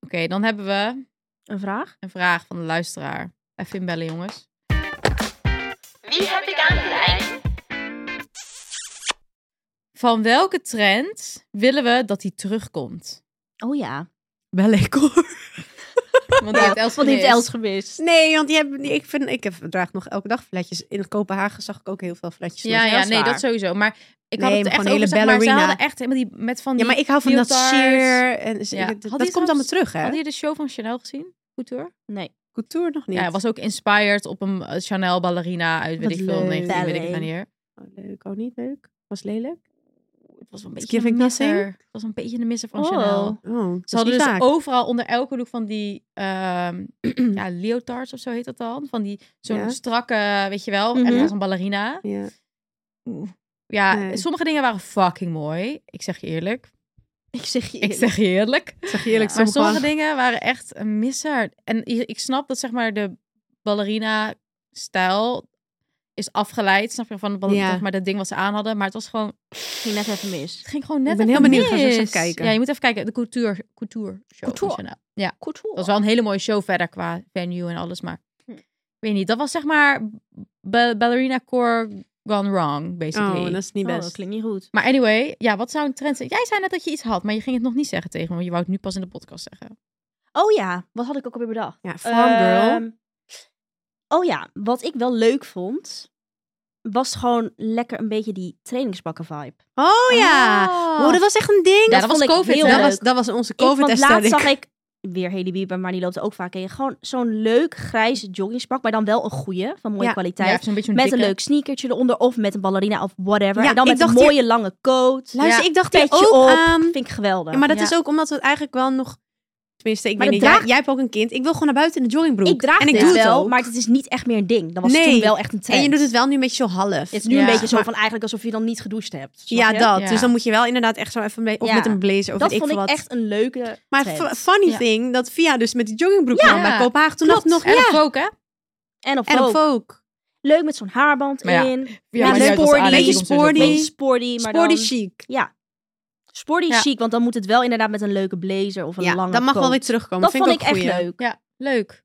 C: Oké, dan hebben we
D: Een vraag?
C: een vraag van de luisteraar. Even bellen, jongens.
J: Wie heb ik aan de lijn?
C: Van welke trend willen we dat die terugkomt?
D: Oh ja.
E: Wel ik hoor.
C: Want die heeft Els
D: Wat heeft
C: gemist.
D: Els gemist?
E: Nee, want die hebben, ik, vind, ik heb, draag nog elke dag fletjes. In Kopenhagen zag ik ook heel veel fletjes. nog.
C: Ja, ja,
E: Dat is
C: nee,
E: waar.
C: dat sowieso. Maar ik had
E: Nee, maar
C: het echt
E: gewoon
C: over,
E: hele
C: zeg maar, ze
E: ballerina.
C: hadden echt helemaal die, met van die...
E: Ja, maar ik hou van dat
C: leotards.
E: sheer. En,
C: Ja. Had
E: dat-
C: die
E: dat komt
C: trouwens-
E: allemaal terug, hè?
C: Hadden jullie de show van Chanel gezien? Goed hoor.
D: Nee.
E: Couture nog niet.
C: Ja, was ook inspired op een eh, Chanel ballerina uit, weet
E: Wat
C: ik veel,
E: leuk.
C: 19, weet ik
D: Ballet.
C: wanneer.
E: Oh, leuk, oh niet leuk. Was lelijk.
C: Het was een
E: Is
C: beetje
E: Giving
C: een
E: Nothing?
C: misser. Het was een beetje de misser van
D: Oh.
C: Chanel.
E: Oh,
C: Ze hadden dus
E: dus ook...
C: overal onder elke look van die ehm, ja, leotards of zo heet dat dan. Van die zo'n
E: Ja.
C: strakke, weet je wel,
D: Mhm.
C: echt als een ballerina.
E: Ja.
C: Ja,
E: Nee.
C: sommige dingen waren fucking mooi. Ik zeg je eerlijk.
D: Ik zeg je
C: Ik zeg je eerlijk.
E: Zeg je eerlijk,
C: Maar
E: sommige-
C: sommige dingen waren echt een misser. En i- ik snap dat zeg maar de ballerina-stijl is afgeleid. Snap je van wat-
E: Ja.
C: zeg maar dat ding wat ze aan hadden. Maar het was gewoon,
D: ging net even mis.
C: het ging gewoon net.
E: ben
C: even
E: heel benieuwd. Gaan ze
C: mis.
E: eens even kijken.
C: Ja, je moet even kijken. De couture, couture show. van
D: Couture.
C: Chanel. Ja,
D: Couture.
C: dat was wel een hele mooie show verder qua venue en alles. Maar
E: Hm.
C: ik weet niet. Dat was zeg maar ba- ballerina core gone wrong, basically.
E: Oh, dat is niet
D: Oh,
E: best.
D: dat klinkt niet goed.
C: Maar anyway, ja, wat zou een trend zijn? Jij zei net dat je iets had, maar je ging het nog niet zeggen tegen me. Want je wou het nu pas in de podcast zeggen.
D: Oh ja, wat had ik ook alweer bedacht?
E: Ja, farm girl.
D: Ehm, oh ja, wat ik wel leuk vond, was gewoon lekker een beetje die trainingsbakken vibe.
E: oh ja.
C: Ah.
E: Oh, dat was echt een ding.
D: Ja, dat vond ik heel
E: Dat
D: leuk.
E: was, dat was onze
D: Ik-
E: covid
D: want
E: aesthetic
D: laatst zag ik weer Haley Bieber, maar die loopt ook vaak in. Gewoon zo'n leuk grijs joggingspak, maar dan wel een goede, van mooie
E: Ja,
C: Ja,
D: kwaliteit.
C: zo'n beetje een
D: met een
C: dikke-
D: leuk sneakertje eronder of met een ballerina of whatever.
E: Ja,
D: en dan
E: ik
D: met een
E: dacht hier-
D: mooie lange coat.
E: Luister,
C: Ja.
E: ik dacht er
D: Petje
E: ook
D: op.
E: aan.
D: Vind ik geweldig.
E: Ja, maar dat
C: Ja.
E: is ook omdat we het eigenlijk wel nog... Tenminste, ik
D: Maar
E: weet niet.
D: dat
E: Jij,
D: draag-
E: jij hebt ook een kind. Ik wil gewoon naar buiten in de joggingbroek.
D: ik draag
E: en ik
D: dit
E: doe
D: wel,
E: het ook.
D: maar het is niet echt meer een ding. Dat was
E: Nee.
D: toen wel echt een trend.
E: En je doet het wel nu een beetje zo half.
D: Het is nu een
C: Ja.
D: beetje zo
E: Maar-
D: van eigenlijk alsof je dan niet gedoucht hebt. snap
E: Ja,
D: je?
E: dat.
C: Ja.
E: Dus dan moet je wel inderdaad echt zo even... mee- Of
D: Ja.
E: met een blazer of
D: Dat
E: weet
D: vond
E: ik
D: ik
E: veel wat.
D: echt een leuke
E: Maar
D: trend.
E: f- funny
C: Ja.
E: thing, dat Via dus met die joggingbroek
C: Ja.
E: kwam bij Kopenhagen. Toen
C: Klopt.
E: dat nog...
C: en
E: ja,
C: op Vogue, hè?
D: en op,
E: en op
D: Vogue.
E: Vogue.
D: Leuk met zo'n haarband
C: Maar ja,
D: in.
E: Ja,
C: maar
E: leuk.
C: die uit als
E: Sporty,
C: aanleiding
E: beetje
C: komt dus ook
E: sporty.
C: wel.
D: Beetje sporty, maar
E: Sporty
D: dan...
E: chic.
D: Ja. Sporty
C: Ja.
D: chic, want dan moet het wel inderdaad met een leuke blazer of een
E: Ja,
D: lange
E: dat mag
D: coat.
E: wel weer terugkomen.
D: Dat
E: vind
D: vond ik
E: ook een
D: echt
E: goeie.
D: leuk.
C: Ja, leuk.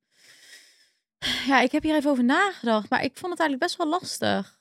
C: Ja, ik heb hier even over nagedacht, maar ik vond het eigenlijk best wel lastig.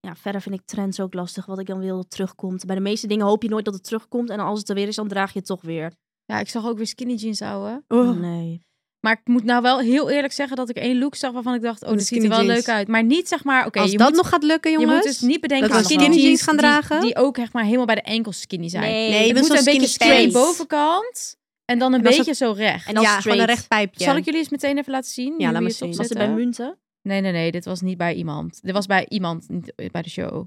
D: Ja, verder vind ik trends ook lastig, wat ik dan wil dat terugkomt. Bij de meeste dingen hoop je nooit dat het terugkomt. En als het er weer is, dan draag je het toch weer.
C: Ja, ik zag ook weer skinny jeans houden.
D: Mm.
E: Oh.
D: Nee.
C: Maar ik moet nou wel heel eerlijk zeggen dat ik één look zag waarvan ik dacht, oh,
E: De
C: dit ziet er
E: skinny
C: wel
E: jeans.
C: leuk uit. Maar niet zeg maar, oké,
E: Als
C: je,
E: dat
C: moet-
E: nog gaat lukken,
C: je
E: jongens.
C: moet dus niet bedenken
E: dat
C: aan
E: we skinny jeans gaan
C: die-
E: dragen.
C: Die, ook echt maar helemaal bij de enkels skinny zijn.
D: Nee,
E: Nee, je
C: Het
E: bent
C: moet
E: zo'n
C: een beetje
E: skinny face.
C: stray bovenkant en dan een
E: En als
C: beetje zo recht.
D: En dan
E: ja, gewoon
D: straight.
E: een recht pijpje.
C: Zal ik jullie eens meteen even laten zien? Nu
E: laat
C: we
E: maar
C: het
E: zien.
D: Was het
C: opzetten?
D: bij munten?
C: Nee, nee, nee. Dit was niet bij iemand. Dit was bij iemand, niet bij de show.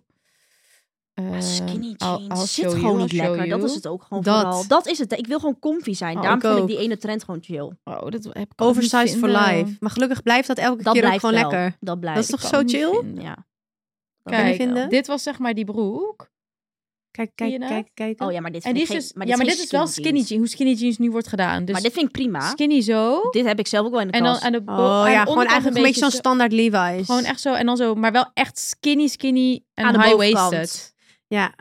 C: Eh,
D: Skinny
C: I'll-
D: jeans.
C: I'll
D: Zit
C: show
D: gewoon
C: you,
D: niet
C: I'll show
D: lekker. Dat
C: you.
D: is het ook gewoon
E: Dat.
D: vooral. Dat is het. Ik wil gewoon comfy zijn.
E: Oh,
D: Daarom
E: ik
D: vind ik
E: ook.
D: die ene trend gewoon chill.
C: Oh, dat heb ik ook
E: Oversized
C: niet
E: for
C: vinden.
E: life. Maar gelukkig blijft dat
D: Dat
E: elke keer ook
D: blijft
E: gewoon
D: wel.
E: lekker.
D: Dat blijft.
E: Dat is toch
C: kan
E: zo
C: niet
E: chill?
C: vinden.
D: Ja. Dat
C: Kijk,
D: kan
E: je
D: ik wel.
E: vinden?
C: Dit was zeg maar die broek.
E: Kijk,
C: Zie je
E: kijk,
C: dat?
E: kijk, kijk.
D: Oh ja, maar dit
C: En
D: vind
C: die
D: ik
C: is
D: geen-
C: dus,
D: maar
C: ja, maar dit
D: geen
C: is wel skinny jeans. Hoe skinny jeans nu wordt gedaan. Dus
D: Maar dit vind ik prima.
C: skinny zo.
D: Dit heb ik zelf ook wel in de
C: En dan
D: kast.
C: aan de bo-
E: Oh
C: aan de
E: ja, gewoon
C: onderkant
E: eigenlijk een beetje zo'n standaard Levi's.
C: Gewoon echt zo. En dan zo. Maar wel echt skinny, skinny.
D: Aan
C: En
D: de
C: high-waisted.
D: bovenkant.
E: Ja.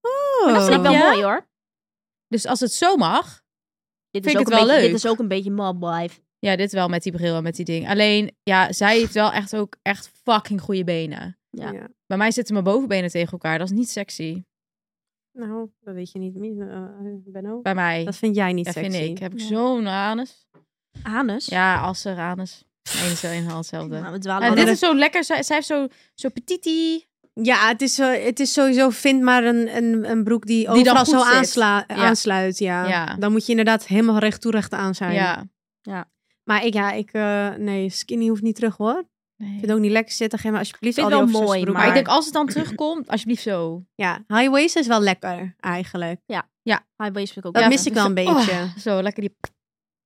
E: Oh.
D: Maar dat vind ik wel
C: Snap je?
D: mooi hoor.
C: Dus als het zo mag.
D: Dit
C: Vind
D: is
C: ik
D: ook
C: het
D: een
C: wel
D: beetje,
C: leuk.
D: Dit is ook een beetje mob life.
C: Ja, dit wel met die bril en met die ding. Alleen, ja, zij heeft wel echt ook echt fucking goede benen.
D: Ja.
C: Bij mij zitten mijn bovenbenen tegen elkaar. Dat is niet sexy.
E: Nou, dat weet je niet. eh, Ben Benno?
C: Bij mij.
E: Dat vind jij niet
C: Ja,
E: sexy.
C: vind ik. Heb ik zo'n anus.
D: Anus?
C: Ja, assen, anus. Eén is wel helemaal hetzelfde.
D: Nou, we dwalen
C: En
D: wel
C: dit
D: af.
C: is zo lekker. Zij, zij heeft zo, zo petiti.
E: Ja, het is, zo, het is sowieso, vind maar een, een, een broek die,
C: dan
E: overal
C: goed
E: zo
C: zit.
E: aansla, aansluit. Ja.
C: Ja.
E: Dan moet je inderdaad helemaal recht toe recht aan zijn.
C: Ja.
E: Maar ik, ja, ik, eh, nee, skinny hoeft niet terug hoor. Ik
C: Nee.
E: vind het ook niet lekker zitten. Geef me alsjeblieft
D: Vind
E: al die
D: wel mooi,
E: overzijdsbroeken.
C: Maar ik denk als het dan terugkomt, alsjeblieft zo.
E: Ja, high waist is wel lekker eigenlijk.
D: High waist vind ik ook
E: Dat
D: lekker.
E: mis ik wel een beetje.
C: Oh, zo, lekker die...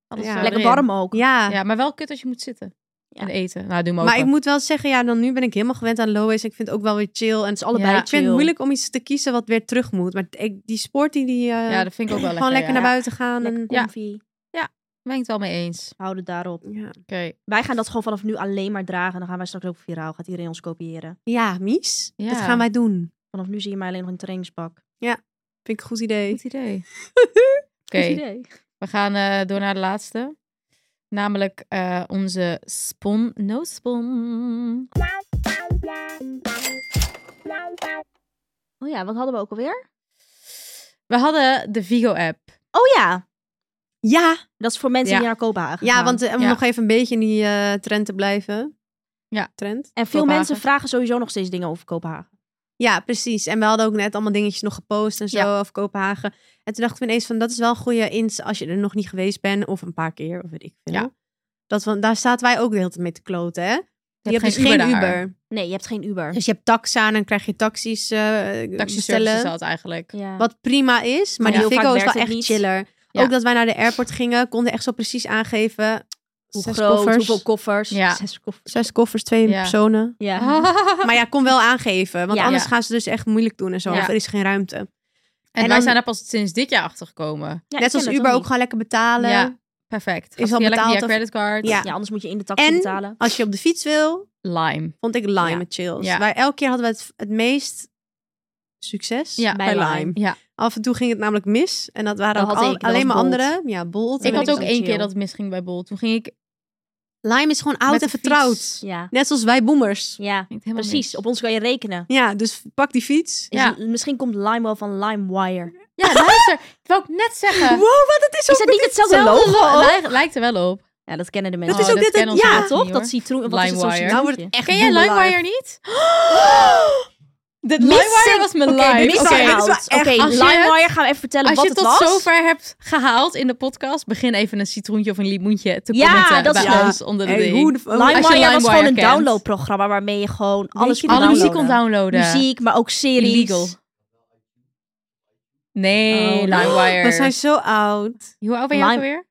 C: Alles
E: Ja.
C: zo
D: Lekker
C: erin.
D: warm ook.
E: Ja,
C: Ja, maar wel kut als je moet zitten.
D: Ja.
C: En eten. Nou, doe maar
E: maar ik moet wel zeggen, ja, dan nu ben ik helemaal gewend aan low waist. Ik vind het ook wel weer chill. En het is allebei
C: Ja,
E: Ik vind
D: chill.
E: het moeilijk om iets te kiezen wat weer terug moet. Maar ik, die sport die, die eh,
C: Ja, dat vind ik ook wel lekker.
E: gewoon lekker
C: ja.
E: naar buiten gaan.
D: Lekker
E: En,
C: Ja.
D: comfy.
C: Ben ik het wel mee eens.
D: Houd het daarop.
E: ja.
C: Oké.
D: Wij gaan dat gewoon vanaf nu alleen maar dragen. Dan gaan wij straks ook viraal. Gaat iedereen ons kopiëren.
E: ja, mies.
C: Ja.
E: Dat gaan wij doen.
D: Vanaf nu zie je mij alleen nog in een trainingspak.
E: Vind ik een goed idee.
C: Goed idee. Oké,
D: Goed idee.
C: we gaan eh, door naar de laatste. Namelijk eh, onze spon, no spon.
D: Oh ja, wat hadden we ook alweer?
C: We hadden de Vigo-app.
D: Oh ja,
E: Ja,
D: dat is voor mensen
C: Ja.
D: die naar Kopenhagen
E: ja
D: gaan.
E: want eh, om
C: Ja.
E: nog even een beetje in die eh, trend te blijven.
C: Ja.
E: Trend.
D: En veel
C: Kopenhagen.
D: mensen vragen sowieso nog steeds dingen over Kopenhagen.
E: Ja, precies. En we hadden ook net allemaal dingetjes nog gepost en zo
C: Ja.
E: over Kopenhagen. En toen dachten we ineens van, dat is wel een goede ins als je er nog niet geweest bent. Of een paar keer, of weet ik veel.
C: Ja.
E: Dat, want daar zaten wij ook de hele tijd mee te kloten, hè? Je, hebt dus geen Uber.
D: Nee, je hebt geen Uber.
E: Dus je hebt taxa en dan krijg je taxis eh
C: Taxiservice is
E: bestellen.
C: dat eigenlijk.
D: Ja.
E: Wat prima is, maar
D: Ja.
E: die
D: Heel
E: Vigo
D: vaak
E: is
D: werkt
E: wel
D: het
E: echt
D: niet.
E: chiller.
C: Ja.
E: Ook dat wij naar de airport gingen, konden echt zo precies aangeven.
D: Hoe
E: zes
D: groot,
E: koffers.
D: hoeveel koffers.
C: Ja.
D: Zes koffers.
E: Zes koffers, twee
C: Ja.
E: personen.
D: Ja.
E: Maar ja, kon wel aangeven. Want
D: Ja.
E: anders
C: Ja.
E: gaan ze dus echt moeilijk doen en zo.
C: Ja.
E: Of er is geen ruimte.
C: En,
E: En
C: wij
E: dan-
C: zijn er pas sinds dit jaar achter gekomen.
D: Ja, ik
E: Net
D: ken
E: als
D: dat
E: Uber ook
D: niet.
E: gewoon lekker betalen.
C: Ja. Perfect.
E: Is
C: Is
E: al
C: al lekker via
E: betaald of-
C: creditcard.
E: Ja.
D: Ja. anders moet je in de taxi
E: En-
D: betalen.
E: Als je op de fiets wil,
C: Lime.
E: vond ik Lime
D: Ja.
E: het chills.
C: Ja.
E: Wij, elke keer hadden we het, het meest succes
C: Ja,
E: bij,
D: bij
E: Lime.
D: Lime.
C: Ja.
E: Af en toe ging het namelijk mis. En dat waren
D: Dat
E: ook
D: had
E: al-
D: ik, dat
E: alleen
D: was
E: maar
D: Bolt.
E: anderen. Ja, Bolt.
C: Ik
D: ben
C: had
D: ik
C: ook
D: zo
C: één keer
D: chill.
C: dat het misging bij Bol. Toen ging ik...
E: Lime is gewoon oud
C: Met
E: en
C: de
E: vertrouwd.
C: fiets.
D: Ja,
E: Net zoals wij boomers.
D: ja.
C: ging het helemaal
D: precies.
C: mis.
D: Op ons kan je rekenen.
E: Ja, dus pak die fiets.
D: Dus
C: Ja.
D: m- misschien komt Lime wel van LimeWire.
C: Ja, luister. dat wou ik net zeggen.
E: Dat is
D: Is dat niet hetzelfde logo?
C: Lijkt, lijkt er wel op.
D: Ja, dat kennen de
E: Dat
D: mensen.
E: is
C: Oh,
E: ook
C: dat
E: dit.
C: kennen onze
E: ja,
C: mensen
D: toch?
C: niet,
D: Dat
C: hoor.
D: citroen. Wat is het zo'n
C: LimeWire.
E: Nou wordt
D: citroentje?
E: het echt
C: Ken jij
E: boomlife.
C: LimeWire niet? De LimeWire was mijn
D: Oké,
C: live.
D: missing
E: Oké, dit is wel
D: out. Oké,
E: echt-
C: Als je
D: LimeWire gaan we even vertellen
C: Als
D: wat
C: je het
D: het
C: tot
D: was.
C: zover hebt gehaald in de podcast, begin even een citroentje of een limoentje te
D: Ja,
C: commenten
D: dat
C: bij
D: is leuk.
C: ons onder de
E: Hey,
C: ding.
E: hoe de- oh,
C: je
D: LimeWire was
C: LimeWire
D: gewoon een
C: kent.
D: downloadprogramma waarmee je gewoon alles
E: je
D: kon
C: Alle muziek kon
D: downloaden.
C: downloaden.
D: Muziek, maar ook series.
C: eh, Illegal. Nee,
D: Oh,
C: LimeWire.
E: We zijn zo oud.
C: Hoe oud ben jij ook
D: Lime-
C: alweer?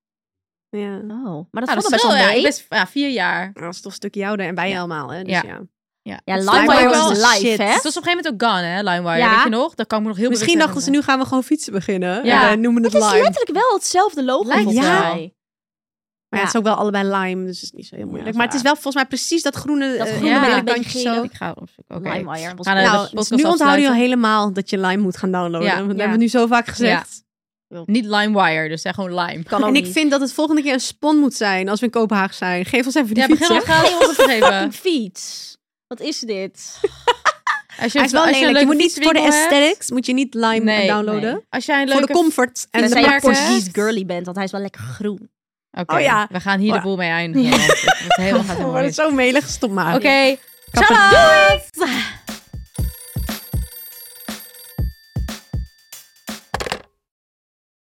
E: Ja.
D: Oh, maar dat
C: Nou,
D: valt
C: dat is
D: best
C: wel
D: wel
C: ja, ik
D: mee.
C: best, ja, vier jaar.
E: Nou, Dat is toch een stukje ouder. En wij allemaal, hè? Dus
C: Ja.
E: ja.
C: Ja,
D: Ja,
C: Dat is wel-
D: LimeWire was
E: was de
D: live,
E: shit.
D: hè?
C: Dus Het was op een gegeven moment ook gone, hè, LimeWire.
D: Ja.
C: Weet je nog? Dat kan ik me nog heel
E: Misschien
C: bewust
E: dachten ze, nu gaan we gewoon fietsen beginnen.
C: Ja.
E: En eh, noemen het,
D: Het is
E: Lime.
D: letterlijk wel hetzelfde logo
C: Lijkt
D: volgens
E: wel.
D: mij.
E: Maar ja,
D: Ja.
E: het is ook wel allebei lime, dus het is niet zo heel moeilijk.
C: dat is
E: maar het is wel volgens mij precies dat groene,
D: Dat
E: eh,
D: groene
C: met
D: een beetje
E: kantje
D: gele.
E: zo.
C: herinneren. Ik ga opzoeken. Oké.
D: LimeWire was
C: Gaan we
D: cool.
C: de
E: Nou,
C: podcast
E: nu onthouden jullie al
C: afsluiten.
E: helemaal dat je lime moet gaan downloaden.
C: Ja.
E: want dat
C: Ja.
E: hebben we nu zo vaak gezegd.
C: Niet LimeWire, dus zeg gewoon Lime.
D: Kan ook
E: En ik
D: niet.
E: vind dat het volgende keer een spon moet zijn als we in Kopenhagen zijn. Geef ons even die
C: Ja,
E: fiets,
C: begin
E: hè.
C: maar gauw ons te geven.
D: Fucking fiets. Wat is dit?
C: Als je,
E: Hij is wel
C: Dus als je een
E: lelijk. Je
C: leuke
E: moet niet voor de
C: fietswinkel hebt-
E: aesthetics, moet je niet lime
C: Nee,
E: downloaden.
C: nee. Als jij een
E: Voor
C: leuke
E: de comfort en de
D: Tenzij je
C: merken.
D: Portuguese girly bent, want hij is wel lekker groen.
C: Oké,
E: Oh ja.
C: we gaan hier de
E: Maar-
C: boel mee eindigen. want het wordt helemaal gaat
E: Oh,
C: helemaal
E: maar dat
C: mis.
E: is zo melig. Stop maar.
C: Oké,
E: Kappen.
C: ciao!